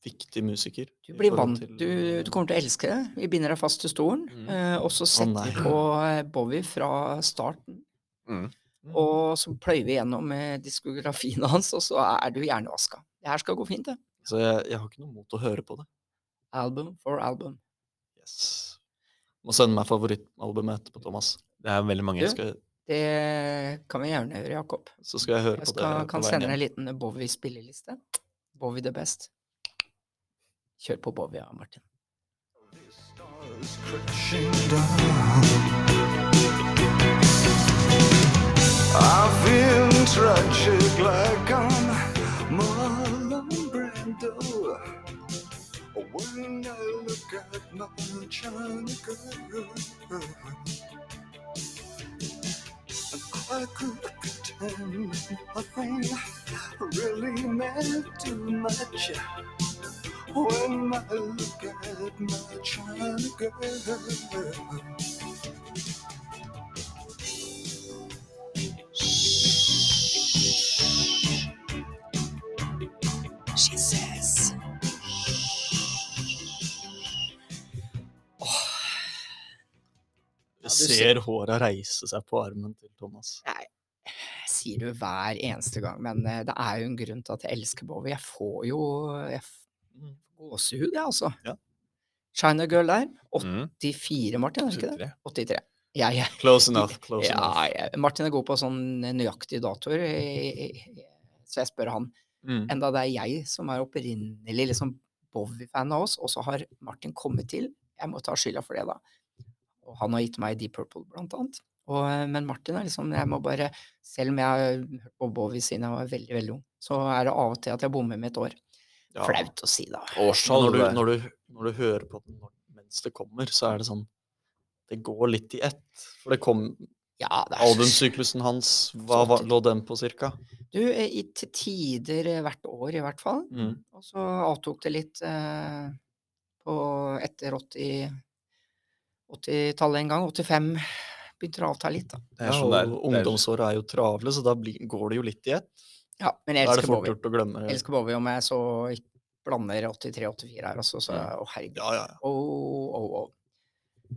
S3: viktig musiker.
S1: Du
S3: i
S1: blir
S3: forhold
S1: vant.
S3: til,
S1: Du, du kommer til å elske det. Vi binder deg fast til stolen.
S2: Mm.
S1: eh, Og så setter
S3: nei.
S1: vi på eh, Bowie fra starten.
S2: Mm.
S3: Mm.
S1: Og så pløyer vi gjennom eh,
S3: Mm.
S1: diskografien hans, og så er du hjernevaska. Det her skal gå fint, det.
S3: Så jeg, jeg har ikke noe mot å høre på det.
S1: Album for album.
S3: Yes. Må sende meg favorittalbumet etterpå, Thomas.
S2: Det er veldig mange.
S3: Så
S1: Du?
S3: skal, jeg-
S1: Det kan vi gjerne gjøre, Jakob.
S3: så skal jeg høre
S1: Jeg
S3: på
S1: skal,
S3: det.
S1: kan sende deg en liten Bowie-spilleliste. Bowie the best. Kjør på Bowie, ja, Martin.
S4: Stars crashing down. I feel tragic like I'm Marlon Brando. When I look at my China girl, I could pretend nothing really meant too much. When I look at my China girl,
S1: She says.
S3: Jeg
S1: Ja, du
S3: ser håra reise seg på armen til Thomas.
S1: sier du hver eneste gang, men eh, det er jo en grunn til at jeg elsker Bowie. Jeg får jo jeg f-
S3: Mm.
S1: gåsehud, jeg, altså.
S3: Ja.
S1: China Girl der.
S2: Mm.
S1: 84, Martin, er det ikke det? 83. Ja, ja.
S3: Close enough. close
S1: ja,
S3: enough.
S1: ja. Martin er god på sånn nøyaktige datoer, eh, eh, så jeg spør han.
S3: Mm.
S1: Enda det er jeg som er opprinnelig liksom Bowie-fan av oss, og så har Martin kommet til. Jeg må ta skylda for det, da. Og han har gitt meg Deep Purple, blant annet. Og, eh, men Martin er liksom Jeg må bare Selv om jeg har hørt på Bowie siden jeg var veldig, veldig ung, så er det av og til at jeg bommer med et år.
S3: Ja.
S1: Flaut å si, da.
S3: Men
S2: Årstall
S3: Når du,
S2: der.
S3: når, du, når du hører på den når- mens det kommer, så er det sånn Det går litt i ett. For det kom
S1: Ja, det er
S3: Albumsyklusen hans, hva var, lå den på cirka?
S1: Du, eh, i til tider eh, hvert år, i hvert fall.
S3: Mm.
S1: Og så avtok det litt eh, på etter 80 80-tallet en gang. 85 begynte det å avta litt, da.
S2: Det er
S3: Ja,
S2: sånn der.
S3: og
S2: det er-
S3: ungdomsåra er jo travle, så da blir, går det jo litt i ett.
S1: Ja, men jeg
S3: Da er det
S1: elsker
S3: fort
S1: Bowie.
S3: gjort å glemme.
S1: Jeg elsker Bowie, om jeg så ikke blander 83-84 her også, så å herregud.
S3: Ja, ja. ja.
S1: Å, å, å.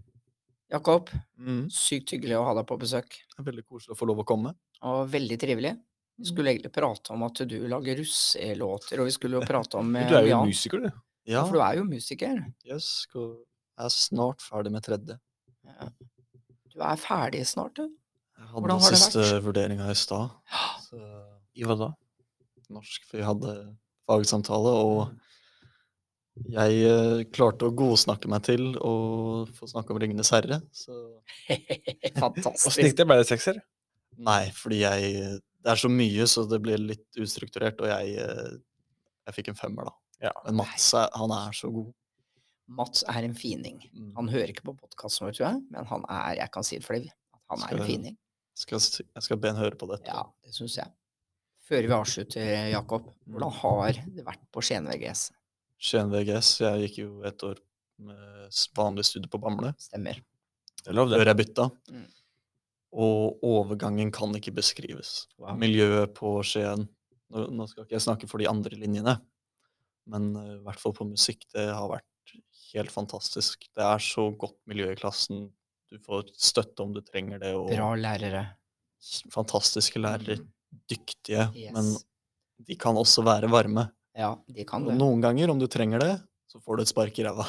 S1: Jakob,
S3: Mm.
S1: sykt hyggelig å ha deg på besøk,
S3: Det er veldig koselig å få lov å komme.
S1: og veldig trivelig. Vi skulle egentlig prate om at du lager russelåter, og vi skulle jo prate om
S2: Men
S1: eh,
S2: Du er
S1: mye
S2: jo
S1: annet.
S2: musiker, du.
S1: Ja,
S3: Ja,
S1: for du er jo musiker.
S3: jøss. skal- Jeg er snart ferdig med tredje.
S1: Ja. Du er ferdig snart, du.
S3: Jeg hadde
S1: Hvordan har det
S3: siste
S1: vært?
S3: vurderinga i stad. så-
S2: I hva da?
S3: norsk, for vi hadde fagsamtale, og
S1: Mm.
S3: jeg eh, klarte å godsnakke meg til å få snakke om 'Ringenes herre'. Så
S2: Åssen gikk
S1: Fantastisk.
S2: det? Ble det sekser?
S3: nei, fordi jeg Det er så mye, så det ble litt ustrukturert, og jeg, eh, jeg fikk en femmer, da.
S2: Ja.
S3: Men Mats, er- han er så god.
S1: Mats er en fining.
S3: Mm.
S1: Han hører ikke på podkasten vår, tror jeg, men han er, jeg kan si det for deg, han er
S3: Skal-
S1: en fining.
S3: Skal, s- jeg skal be han høre på dette.
S1: Ja, det syns jeg. Før vi avslutter, Jakob, hvordan har det vært på Skien VGS?
S3: Skien VGS. Jeg gikk jo et år med s- vanlig studie på Bamble.
S1: Stemmer.
S2: Det er lov, det.
S3: før jeg bytta.
S1: Mm.
S3: Og overgangen kan ikke beskrives.
S1: Wow.
S3: Miljøet på Skien nå, nå skal ikke jeg snakke for de andre linjene, men eh, i hvert fall på musikk, det har vært helt fantastisk. Det er så godt miljø i klassen. Du får støtte om du trenger det, og
S1: Bra lærere.
S3: s- fantastiske lærere. Dyktige,
S1: Mm. Yes.
S3: men de kan også være varme.
S1: Ja, de kan
S3: Og
S1: det.
S3: noen ganger, om du trenger det, så får du et spark i ræva.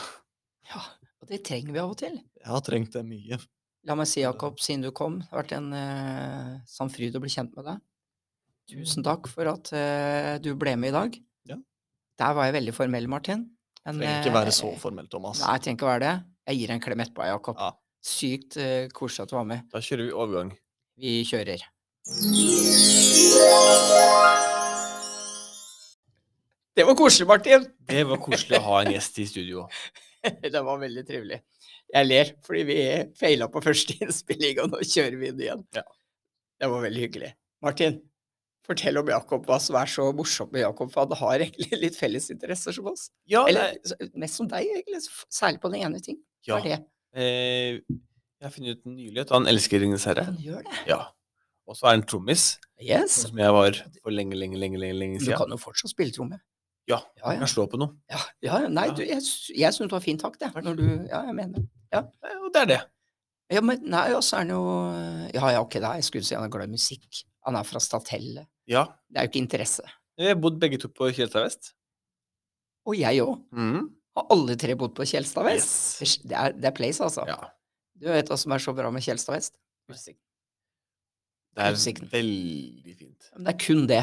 S1: Ja, og det trenger vi av og til.
S3: Jeg har trengt det mye.
S1: La meg si, Jakob, siden du kom, det har vært en eh, sann fryd å bli kjent med deg. Tusen takk for at eh, du ble med i dag.
S3: Ja.
S1: Der var jeg veldig formell, Martin. Men,
S3: Trenger ikke
S1: eh,
S3: være så formell, Thomas.
S1: Nei, jeg trenger ikke være det. Jeg gir deg en klem etterpå, Jakob.
S3: Ja.
S1: Sykt eh, koselig at du var med.
S2: Da kjører vi overgang.
S1: Vi kjører. Det var koselig, Martin!
S2: Det var koselig å ha en gjest i studio.
S1: Det var veldig trivelig. Jeg ler, fordi vi feila på første innspilling, og nå kjører vi inn igjen.
S2: Ja.
S1: Det var veldig hyggelig. Martin, fortell om Jakob hva som er så morsomt med Jakob, for han har egentlig litt felles interesser som oss.
S2: Ja,
S1: Eller s- mest som deg, egentlig. s- Særlig på den ene ting.
S2: ja.
S1: Hva er det?
S2: Eh, jeg har funnet ut nylig at han elsker Ringenes herre.
S1: Han gjør det.
S2: Ja. Og så er han trommis,
S1: Yes.
S2: sånn som jeg var for lenge, lenge, lenge lenge, lenge
S1: Du
S2: siden.
S1: kan jo fortsatt spille tromme.
S2: Ja,
S1: Ja,
S2: Jeg
S1: ja.
S2: kan slå på noe.
S1: ja, ja. Nei,
S2: Ja.
S1: du, jeg, s- jeg syns det var fin takt, jeg. Når du Ja, jeg mener det.
S2: Eh, Og det er det.
S1: Ja, men nei, og så er han jo Ja, ja, ok, da. Jeg skulle si han er glad i musikk. Han er fra Statelle.
S2: Ja.
S1: Det er jo ikke interesse.
S2: Vi har bodd begge to på Kjelstad vest. Mm.
S1: Og jeg òg. Har alle tre bodd på Kjelstad vest? Det, er, det er place, altså.
S2: Ja.
S1: Du vet hva som er så bra med Kjelstad vest?
S2: Det er
S1: Utsikten.
S2: veldig fint.
S1: Men det er kun det.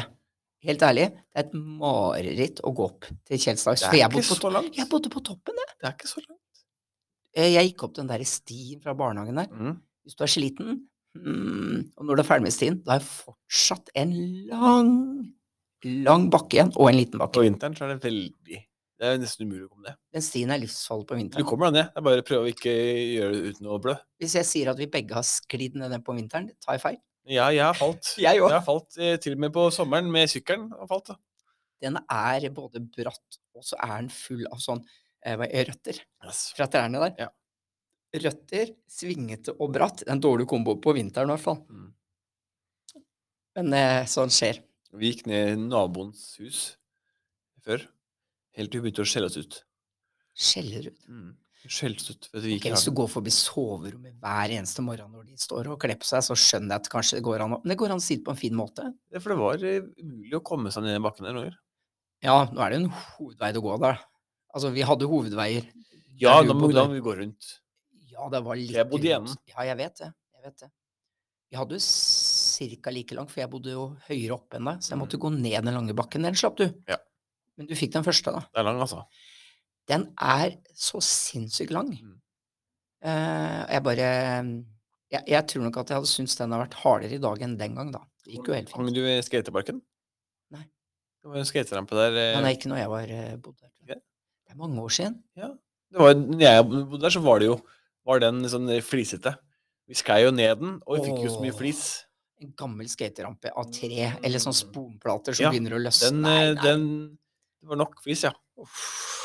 S1: Helt ærlig, det er et mareritt å gå opp til Kjelstad vest.
S2: Det
S1: For
S2: er
S1: jeg
S2: ikke
S1: bodde, på,
S2: så langt.
S1: jeg bodde på toppen, jeg.
S2: Det er ikke så langt.
S1: Eh, Jeg gikk opp den der stien fra barnehagen der.
S2: Mm.
S1: Hvis du er sliten, mm, og når det er ferdig med stien, da er fortsatt en lang, lang bakke igjen, og en liten
S2: På
S1: bakke.
S2: vinteren så er det veldig Det er nesten umulig å komme ned.
S1: Den stien er livsfarlig på
S2: Du
S1: vinteren.
S2: kommer deg ned. Det er bare å prøve å ikke gjøre det uten å blø.
S1: Hvis jeg sier at vi begge har sklidd ned den på vinteren, tar jeg feil.
S2: Ja, jeg har falt.
S1: Jeg òg.
S2: Jeg har falt eh, til og med på sommeren med sykkelen. og falt da.
S1: Den er både bratt, og så er den full av sånn eh, hva- røtter
S2: Yes.
S1: fra trærne der.
S2: Ja.
S1: Røtter, svingete og bratt. En dårlig kombo på vinteren i hvert fall.
S2: Mm.
S1: Men eh, sånn skjer.
S2: Vi gikk ned i naboens hus før, helt til vi begynte å skjelle oss ut.
S1: Skjeller ut.
S2: Vi Skjelte oss ut for at vi
S1: Mm. Ok,
S2: ikke
S1: hvis du
S2: har
S1: går forbi soverommet hver eneste morgen når de står og kler på seg, så skjønner jeg at kanskje det går an å Men det går an å si det på en fin måte.
S2: det. For det var eh, umulig å komme seg ned den bakken der noen ganger.
S1: Ja, nå er det en hovedvei til å gå der. Altså, vi hadde hovedveier.
S2: Ja,
S1: du
S2: da må
S1: bodde.
S2: da må vi gå rundt.
S1: Ja, det var litt
S2: Jeg bodde i
S1: rundt.
S2: enden.
S1: Ja, jeg vet det. Jeg vet det. Vi hadde jo ca. like langt, for jeg bodde jo høyere oppe enn deg, så jeg måtte gå ned den lange bakken. Den slapp du.
S2: Mm. Ja.
S1: Men du fikk den første, da.
S2: Det er lang, altså.
S1: Den er så sinnssykt lang.
S2: Mm.
S1: Eh, jeg bare jeg, jeg tror nok at jeg hadde syntes den hadde vært hardere i dag enn den gang, da. Det gikk jo helt
S2: Mm. Hang
S1: fint.
S2: du ved skateparken?
S1: Nei.
S2: Det var en skaterampe der. eh,
S1: Men det er ikke når jeg var eh, bodde der. tror
S2: Ja.
S1: jeg. Det er mange år siden.
S2: Det var, når jeg bodde der, så var det jo var den sånn flisete. Vi sklei jo ned den, og vi fikk jo så mye
S1: Åh.
S2: flis.
S1: En gammel skaterampe av tre, eller sånn
S2: Mm.
S1: sponplater som
S2: Ja,
S1: begynner å løsne.
S2: Den,
S1: Nei,
S2: eh,
S1: nei.
S2: den Det var nok flis, ja.
S1: Uff.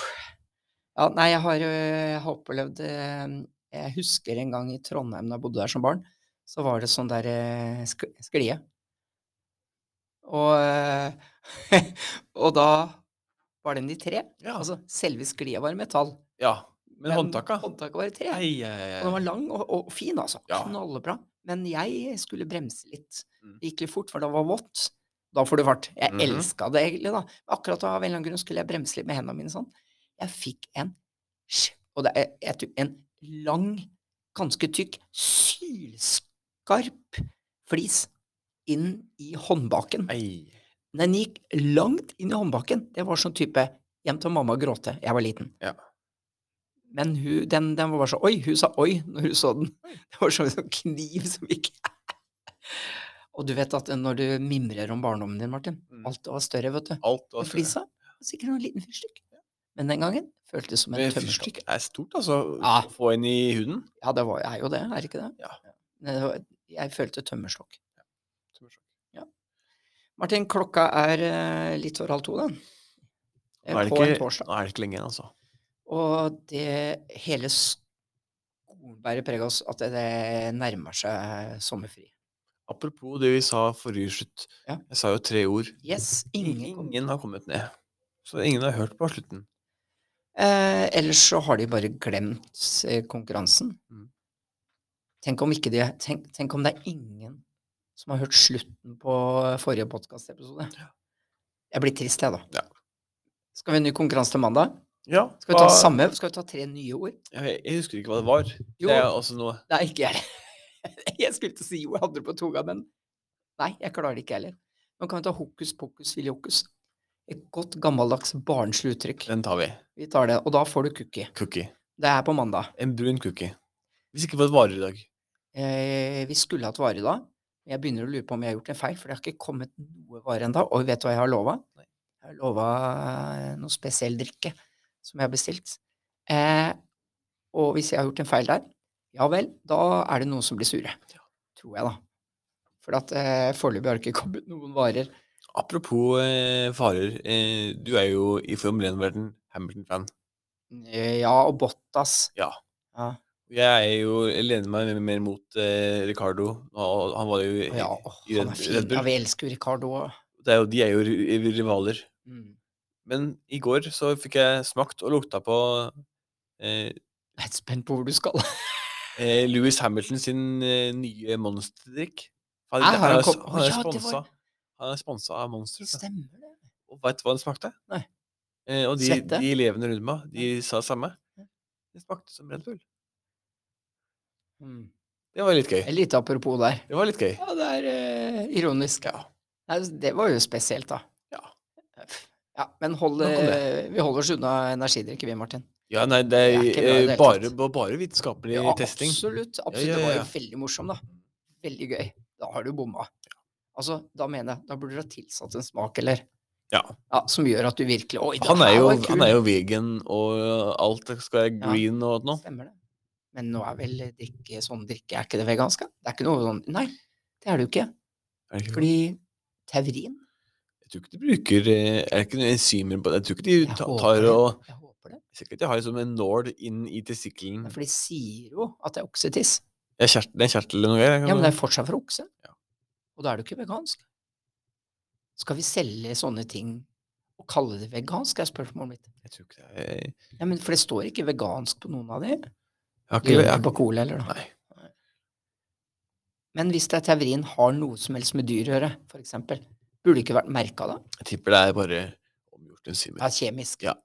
S1: Ja, nei, jeg har, øh, jeg har opplevd øh, Jeg husker en gang i Trondheim da jeg bodde der som barn, så var det sånn der øh, sk- sklie. Og, øh, og da var den i tre.
S2: Ja.
S1: Altså, selve sklia var i metall.
S2: ja. Men, håndtaka
S1: Håndtaket var i tre.
S2: Ei, ei, ei.
S1: Og den var lang og, og fin, altså.
S2: eh, Ja.
S1: Knallbra. Men jeg skulle bremse litt.
S2: Mm.
S1: Det gikk litt fort, for det var vått. Da får du fart. Jeg
S2: Mhm.
S1: elska det egentlig, da. Men akkurat av en eller annen grunn skulle jeg bremse litt med hendene mine sånn. Jeg fikk en sj- Og det er jeg tror, en lang, ganske tykk, sylskarp flis inn i håndbaken.
S2: Ei.
S1: Den gikk langt inn i håndbaken. Det var sånn type hjem til mamma og gråte. Jeg var liten.
S2: Ja.
S1: Men hun, den, den var bare så Oi! Hun sa oi når hun så den. Det var som en sånn kniv som gikk Og du vet at når du mimrer om barndommen din, Martin
S2: Mm.
S1: Alt var større, vet du.
S2: Alt
S1: Og
S2: altså. var
S1: flisa var sikkert en liten fyrstikk. Men den gangen føltes det som en
S2: Men
S1: tømmerstokk.
S2: Fyrstikk er stort, altså.
S1: Ja.
S2: Å Få inn i huden.
S1: Ja, det var, er jo det, er det ikke det?
S2: Ja.
S1: Men det var- Jeg følte tømmerstokk.
S2: Tømmerstokk.
S1: Ja. Martin, klokka er eh, litt over halv to, den. Eh,
S2: Nå er, det
S1: På en
S2: ikke,
S1: torsdag.
S2: nå er det ikke lenge igjen, altså.
S1: Og det hele skolen bærer preg av oss at det- det nærmer seg sommerfri.
S2: Apropos det vi sa forrige slutt.
S1: Ja.
S2: Jeg sa jo tre ord.
S1: Yes, ingen kom.
S2: Ingen har kommet ned. Så ingen har hørt på slutten.
S1: Eh, ellers så har de bare glemt eh, konkurransen.
S2: Mm.
S1: Tenk om, ikke de, tenk, tenk om det er ingen som har hørt slutten på eh, forrige podkastepisode. Jeg blir trist, jeg, da.
S2: Ja.
S1: Skal vi ha en ny konkurranse til mandag?
S2: Ja,
S1: Skal vi ta
S2: hva-
S1: samme? Skal vi ta tre nye ord?
S2: Jeg, jeg husker ikke hva det var.
S1: Jo.
S2: Det er også noe
S1: Nei, ikke jeg heller. Jeg skulle til å si jo, jeg hadde det på tunga, men nei, jeg klarer det ikke heller. Nå kan vi ta hokus pokus filiokus. Et godt, gammeldags, barnslig uttrykk.
S2: Den tar vi.
S1: Vi tar det, og da får du cookie.
S2: Cookie.
S1: Det er på mandag.
S2: En brun cookie. Hvis ikke hva det varer i dag.
S1: Eh, vi skulle hatt vare da. men Jeg begynner å lure på om jeg har gjort en feil, for det har ikke kommet noe vare ennå. Og vet du hva jeg har lova? Jeg har lova noe spesiell drikke som jeg har bestilt. Eh, og hvis jeg har gjort en feil der, ja vel, da er det noen som blir sure. Tror jeg, da. For at eh, foreløpig har det ikke kommet noen varer.
S2: Apropos eh, farer. Eh, du er jo i Formel 1-verden Hamilton-fan.
S1: Eh, Ja, og Bottas.
S2: Ja.
S1: Ja,
S2: Jeg er jo, jeg lener meg mer- mer mot eh, Ricardo. og Han var jo i,
S1: Å ja åh,
S2: i
S1: han
S2: Eh, Red,
S1: er fin.
S2: Red
S1: Ja,
S2: Bull.
S1: vi elsker jo Ricardo òg.
S2: Det er jo, de er jo ri- ri- rivaler.
S1: Mm.
S2: Men i går så fikk jeg smakt og lukta på eh,
S1: Jeg er spent på hvor du skal.
S2: eh, Louis Hamilton sin eh, nye monsterdrikk. Han,
S1: Nei, har han
S2: er s-
S1: kom-
S2: han er
S1: Ja, det var-
S2: sponsa. Han er sponsa av Monster. vet du.
S1: Stemmer det?
S2: Og veit du hva den smakte?
S1: Nei.
S2: Eh, og de,
S1: Svette?
S2: de elevene rundt meg, de sa det samme. Det smakte som Red Bull.
S1: Mm.
S2: Det var litt gøy.
S1: Et lite apropos der.
S2: Det var litt gøy.
S1: Ja, det er eh, ironisk. Nei, det var jo spesielt, da.
S2: Ja.
S1: Ja, men hold,
S2: Nok om det.
S1: eh, vi holder oss unna energidrikke, vi, Martin.
S2: Ja, nei, det er,
S1: Det er ikke bra i det
S2: eh,
S1: hele
S2: bare,
S1: tatt.
S2: ba- bare vitenskapelig
S1: Ja,
S2: testing.
S1: absolutt. absolutt.
S2: ja,
S1: Det var
S2: ja.
S1: jo veldig morsom, da. Veldig gøy. Da har du bomma. Altså, da mener jeg, da burde du ha tilsatt en smak, eller?
S2: Ja.
S1: ja som gjør at du virkelig Oi, det
S2: Han er,
S1: her
S2: jo,
S1: var kul.
S2: han er jo vegan, og alt skal være
S1: Ja.
S2: green og alt nå.
S1: Stemmer det. Men nå er vel drikke sånn drikke, er ikke det vegansk? da? Det er ikke noe sånn Nei, det er det jo ikke.
S2: Er det ikke
S1: Fordi taurin
S2: Jeg tror ikke de bruker eh, Er det ikke noen enzymer på det? Jeg tror ikke de
S1: Jeg
S2: ta-
S1: håper
S2: tar
S1: det.
S2: og
S1: Jeg håper det.
S2: Sikkert de har liksom en nål inn i testikkelen
S1: Nei, For de sier jo at det er oksetiss.
S2: Det er kjert- det er en kjertel eller noe greier.
S1: Ja,
S2: kan
S1: men det
S2: du-
S1: er fortsatt fra okse.
S2: Ja.
S1: Og da er det jo ikke vegansk. Skal vi selge sånne ting og kalle det vegansk, er spørsmålet mitt.
S2: Jeg tror ikke det er Jeg
S1: Ja, men For det står ikke vegansk på noen av de.
S2: har ikke
S1: Ikke
S2: jeg,
S1: på cola heller, da.
S2: Nei.
S1: Men hvis det er taurin har noe som helst med dyr å gjøre, f.eks., burde det ikke vært merka da?
S2: jeg tipper det er bare omgjort
S1: Ja,
S2: enzymer.
S1: kjemisk.
S2: Ja.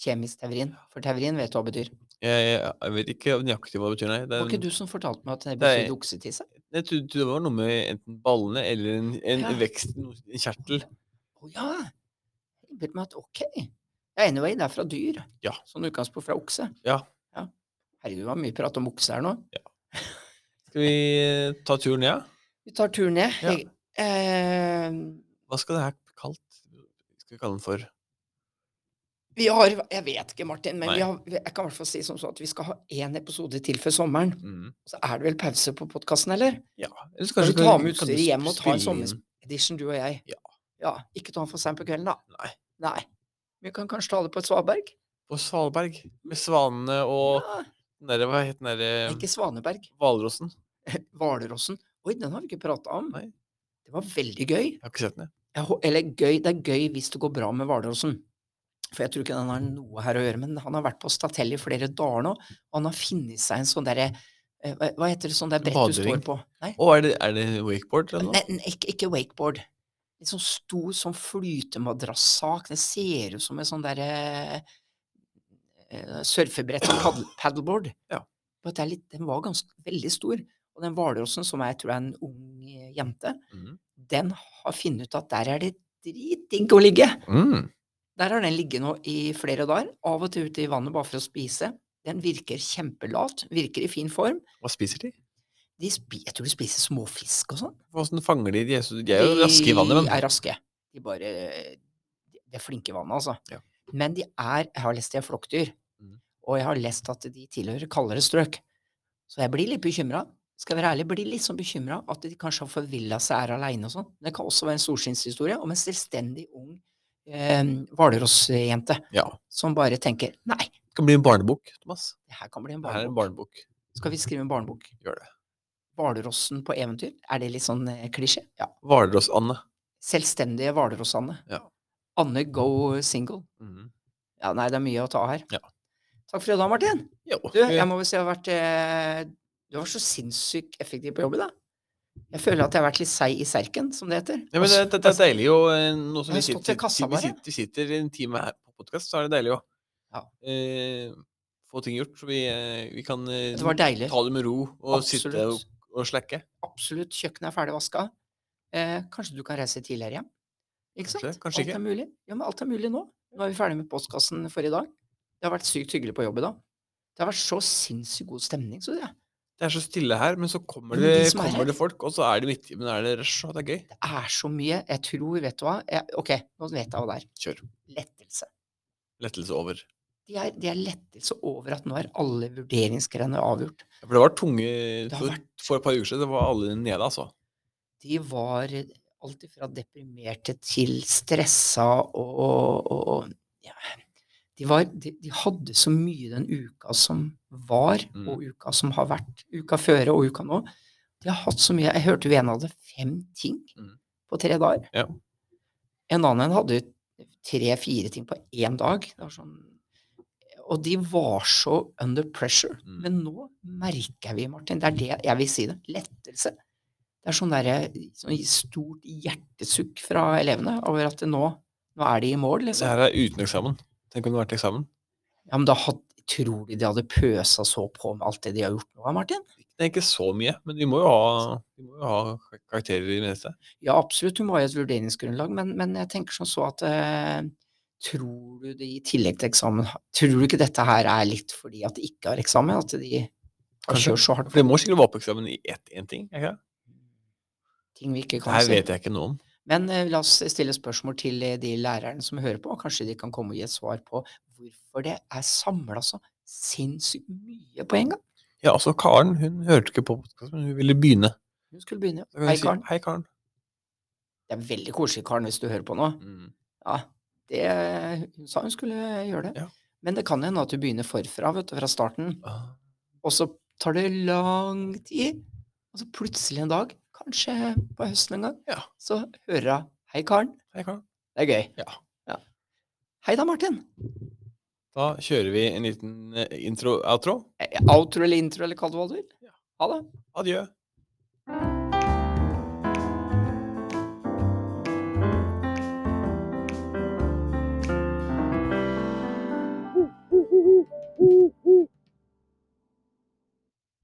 S1: Kjemisk taurin. For taurin vet du hva det betyr.
S2: Jeg, jeg, jeg vet ikke nøyaktig hva det betyr, nei. Det,
S1: Var
S2: er,
S1: ikke du som fortalte meg at det
S2: Nei.
S1: betydde oksetisse?
S2: jeg trodde det var noe med enten ballene eller en, en
S1: Ja.
S2: vekst, noe- en kjertel.
S1: Å ja! Jeg innbilte meg at ok. Ja, anyway, det er fra dyr.
S2: Ja.
S1: Sånn utgangspunkt fra okse.
S2: Ja.
S1: ja. Herregud, det var mye prat om okse her nå.
S2: Skal vi eh, ta turen, ja?
S1: Vi tar turen ned.
S2: Ja.
S1: Jeg, eh,
S2: Hva skal det her kalt? Skal vi kalle den for
S1: vi har Jeg vet ikke, Martin, men
S2: Nei.
S1: vi har, vi- jeg kan i hvert fall si som så at vi skal ha én episode til før sommeren.
S2: mm.
S1: Så er det vel pause på podkasten, eller?
S2: Ja. Eller så
S1: Skal vi
S2: kan-
S1: ta med
S2: kan
S1: utstyret
S2: du
S1: hjem og ta en
S2: spille inn-
S1: sommeredition, du og jeg?
S2: Ja.
S1: ja. Ikke ta den for seint på kvelden, da.
S2: Nei.
S1: Nei. Vi kan kanskje ta det på et svaberg?
S2: På Svalberg. Med svanene og eh,
S1: Ja.
S2: den derre Hva het den derre
S1: Ikke Svaneberg.
S2: Hvalrossen?
S1: Hvalrossen. Oi, den har vi ikke prata om.
S2: Nei.
S1: Det var veldig gøy.
S2: Jeg har ikke sett den, jeg.
S1: Jeg hå- Eller gøy, det er gøy hvis det går bra med Hvalrossen. For jeg tror ikke den har noe her å gjøre, men han har vært på Statell i flere dager nå, og han har funnet seg en sånn derre eh, hva- Hva heter det sånn der brett du står
S2: Badering.
S1: på? Nei,
S2: Å, er det, er det wakeboard eller noe?
S1: nei nei, ikke, ikke wakeboard. En sånn stor sånn flytemadrassak. Det ser ut som en sånn derre eh, surfebrett og paddle- paddleboard.
S2: Ja.
S1: Bare at det er litt, den var ganske, veldig stor. Og den hvalrossen, som jeg tror er en ung eh, jente,
S2: Mhm.
S1: den har funnet ut at der er det dritdigg å ligge.
S2: Mm.
S1: Der har den ligget nå i flere dager, av og til ute i vannet bare for å spise. Den virker kjempelat, virker i fin form.
S2: Hva spiser de?
S1: De spi, jeg tror de spiser småfisk og sånn.
S2: Hvordan fanger de de? er så- De er jo raske i vannet,
S1: De
S2: men
S1: er raske. De bare De er flinke i vannet, altså.
S2: Ja.
S1: Men de er Jeg har lest de er flokkdyr.
S2: Mhm.
S1: Og jeg har lest at de tilhører kaldere strøk. Så jeg blir litt bekymra. Skal jeg være ærlig, blir litt sånn bekymra at de kanskje har forvilla seg, er aleine og sånn. Det kan også være en storsinnshistorie om en selvstendig ung eh, hvalrossjente
S2: Ja.
S1: som bare tenker Nei,
S2: Det kan bli en barnebok, Thomas.
S1: det her kan bli en
S2: Det her er en
S1: barnebok.
S2: barnebok.
S1: Skal vi skrive en barnebok?
S2: Gjør det.
S1: Hvalrossen på eventyr? Er det litt sånn eh, klisjé? Ja.
S2: Hvalross-Anne.
S1: Selvstendige Hvalross-Anne.
S2: Ja.
S1: Anne go single.
S2: Mhm.
S1: Ja, nei, det er mye å ta her.
S2: Ja.
S1: Takk for i dag, Martin.
S2: Jo,
S1: Du, jeg
S2: vi-
S1: må vel si jeg har vært eh, Du har vært så sinnssykt effektiv på jobben, da. Jeg føler at jeg har vært litt seig i serken, som det heter.
S2: Ja, men det, det, det er deilig jo eh, Nå som
S1: Har
S2: vi
S1: Altså, jeg stått
S2: sitter,
S1: ved kassa
S2: vi
S1: bare?
S2: sitter, vi sitter en time her på podkast, så er det deilig å
S1: Ja.
S2: eh, få ting gjort. Så vi, eh, vi kan eh,
S1: Det var deilig.
S2: ta det med ro og sitte og,
S1: Absolutt.
S2: og slakke.
S1: Absolutt. Kjøkkenet er ferdig vaska. Eh, kanskje du kan reise tidligere hjem? Ikke
S2: Kanskje,
S1: sant?
S2: kanskje
S1: alt
S2: ikke.
S1: er mulig. Ja, men alt er mulig nå. Nå er vi ferdig med postkassen for i dag. Det har vært sykt hyggelig på jobb i dag. Det har vært så sinnssykt god stemning, så det.
S2: Det er så stille her, men så kommer
S1: Men de
S2: det,
S1: som er her-
S2: kommer det folk, og så er det midttimen, er det rush, og det er gøy.
S1: Det er så mye. Jeg tror, vet du hva jeg, Ok, nå vet jeg hva det er.
S2: Kjør.
S1: Lettelse.
S2: Lettelse over.
S1: De er, de er lettelse over at nå er alle vurderingsgreiene avgjort.
S2: Ja, For det var tunge
S1: har
S2: for,
S1: vært-
S2: for et par uker siden. Det var alle nede, altså.
S1: De var alt fra deprimerte til stressa og, og, og- og ja. de, var, de, de hadde så mye den uka som var,
S2: Mm.
S1: og uka som har vært. Uka føre og uka nå. De har hatt så mye. Jeg hørte jo en hadde fem ting
S2: Mm.
S1: på tre dager.
S2: Ja.
S1: En annen hadde tre-fire ting på én dag. Det var sånn og de var så under pressure.
S2: Mm.
S1: Men nå merker vi, Martin, det er det jeg vil si det, lettelse. Det er sånn derre sånn stort hjertesukk fra elevene over at det nå, nå er de i mål,
S2: Det
S1: liksom.
S2: her er uten eksamen. Tenk om det hadde vært eksamen.
S1: Ja, men da had, tror de de hadde pøsa så på med alt det de har gjort nå, Martin?
S2: Det er ikke så mye, men vi må jo ha, vi må jo ha kar- karakterer i det minste.
S1: Ja, absolutt, hun må ha et vurderingsgrunnlag, men, men jeg tenker som så at eh, tror du det i tillegg til eksamen ha- Tror du ikke dette her er litt fordi at de ikke har eksamen? At de har
S2: Kanskje.
S1: kjørt så hardt
S2: For det må sikkert være på eksamen i ett én ting. er ikke det?
S1: på ting vi ikke
S2: Det
S1: kan
S2: her
S1: si?
S2: vet jeg ikke noe om.
S1: Men eh, la oss stille spørsmål til eh, de lærerne som hører på, og kanskje de kan komme og gi et svar på hvorfor det er samla så sinnssykt mye på en gang.
S2: Ja, altså Karen hun hørte ikke på podkasten, men hun ville begynne.
S1: Hun skulle begynne.
S2: Da kan
S1: Hei,
S2: jeg si,
S1: Karen.
S2: Hei, Karen.
S1: Det er veldig koselig, Karen, hvis du hører på nå. Ja, det, hun sa hun skulle gjøre det.
S2: Ja.
S1: Men det kan hende at du begynner forfra, vet du, fra starten.
S2: Ah,
S1: Og så tar det lang tid, og så plutselig en dag, kanskje på høsten en gang,
S2: Ja.
S1: så hører hun 'Hei, Karen'.
S2: Hei, Karen.
S1: Det er gøy.
S2: Ja.
S1: Hei da, Martin.
S2: Da kjører vi en liten eh, intro-outro.
S1: Eh, Outro eller intro, eller kall det hva du vil. Ha det.
S2: Adjø.